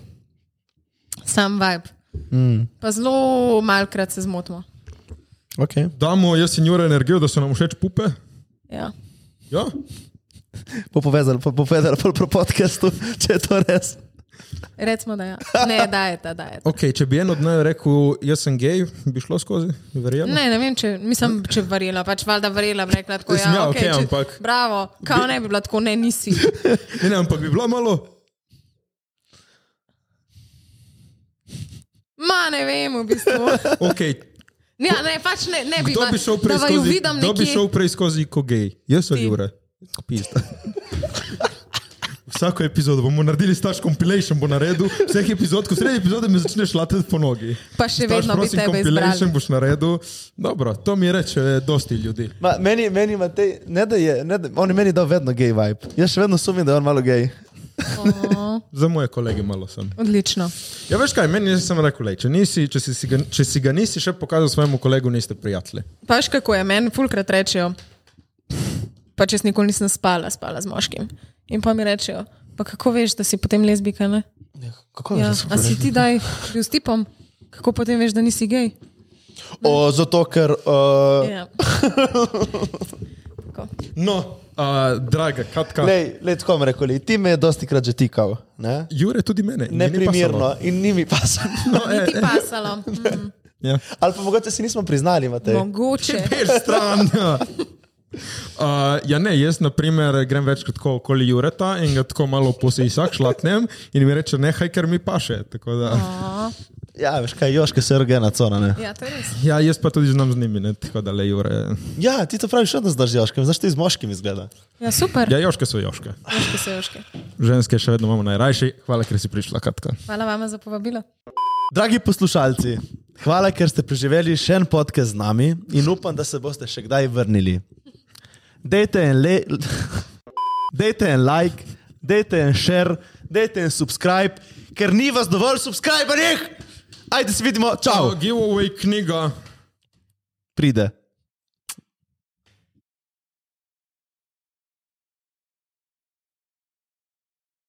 sam vibe. Mm. Pa zelo malkrat se zmotimo.
okay.
Damo jaz in Jure energijo, da so nam všeč pupe?
Ja.
Ja?
Po povezali, po povezali, po, po podkastu, če je to res.
Recimo, da ja. ne, da je ta, da je.
Okay, če bi en od naju rekel, jaz sem gej, bi šlo skozi, verjamem.
Ne, ne vem, če, mislim, če verjela, pač valjda verjela, bi rekla tako,
Mislim,
ja,
ja,
okay,
okej,
če,
ampak-
Bravo, kao ne bi bila tako, ne, nisi.
Ne, ne, ampak bi bilo malo.
Ma, ne vem, v bistvu.
Okay,
Ja, ne, pač ne, ne bi
kdo
bila,
bi šel
da
prej
vaju
skozi,
vidim
kdo bi
nekje.
šel prej skozi kot gej? Jaz sem
Ti.
Jure. Pista. Vsako epizodo bomo naredili staž compilation, bo naredil vseh epizod, ko sredi epizode me začneš latati po nogi.
Pa še
Staž,
vedno bi
prosim,
tebe
compilation
izbrali.
boš naredil. Dobro, to mi reče dosti ljudi.
Ma, meni, meni Matej, ne da je, ne da, on je meni dal vedno gej vibe. Jaz še vedno sumim, da je on malo gej.
O,
Za moje kolege malo sem.
Odlično.
Ja, veš kaj, meni je samo rekel, lej, če, nisi, če, si, si ga, če si ga nisi še pokazal svojemu kolegu, niste prijatelji.
Paš kako je, meni fulkrat rečejo, pa če nikoli nisem spala, spala z moškim. In pa mi rečejo, pa kako veš, da si potem lezbika, ne?
Kako
Ja, a si ti daj bil s tipom, kako potem veš, da nisi gej?
O, zato, ker uh,
Ja. Tako.
No, uh, draga, kratka.
Lej, lej, tako mi rekli, ti me je dosti krat že tikal. Ne?
Jure tudi mene. mi ni pasalo.
Neprimerno in ni mi pasalo.
No, e,
Ni ti
e,
pasalo. Mm,
ja.
Ali pa mogoče si nismo priznali, Matej.
No. mogoče.
Peš stran. Ja. Uh, ja, ne, jaz naprimer, grem večkrat tako okoli Jureta in ga tako malo posejsak, šlatnem in mi reče, nehaj, ker mi paše. Tako Da,
A,
Ja, veš kaj, Joška se je rogena cona. Ne?
no. Ja, to je res.
ja, jaz pa tudi znam z njimi, ne, tako da le Jure.
Ja, ti to praviš, še da znaš z Joškem, znaš ti z moškim izgleda.
Ja, super.
Ja, joške so joške.
Joške so joške.
Ženske še vedno imamo najrajši. Hvala, ker si prišla, Katka.
Hvala vama za povabilo.
Dragi poslušalci, hvala, ker ste preživeli še en podcast z nami in upam, da se boste še kdaj vrnili. Dajte en, le... dajte en like, dajte en share, dajte en subscribe, ker ni vas dovolj subscriberjev. Ajde se vidimo, čau,
Giveaway knjiga.
pride.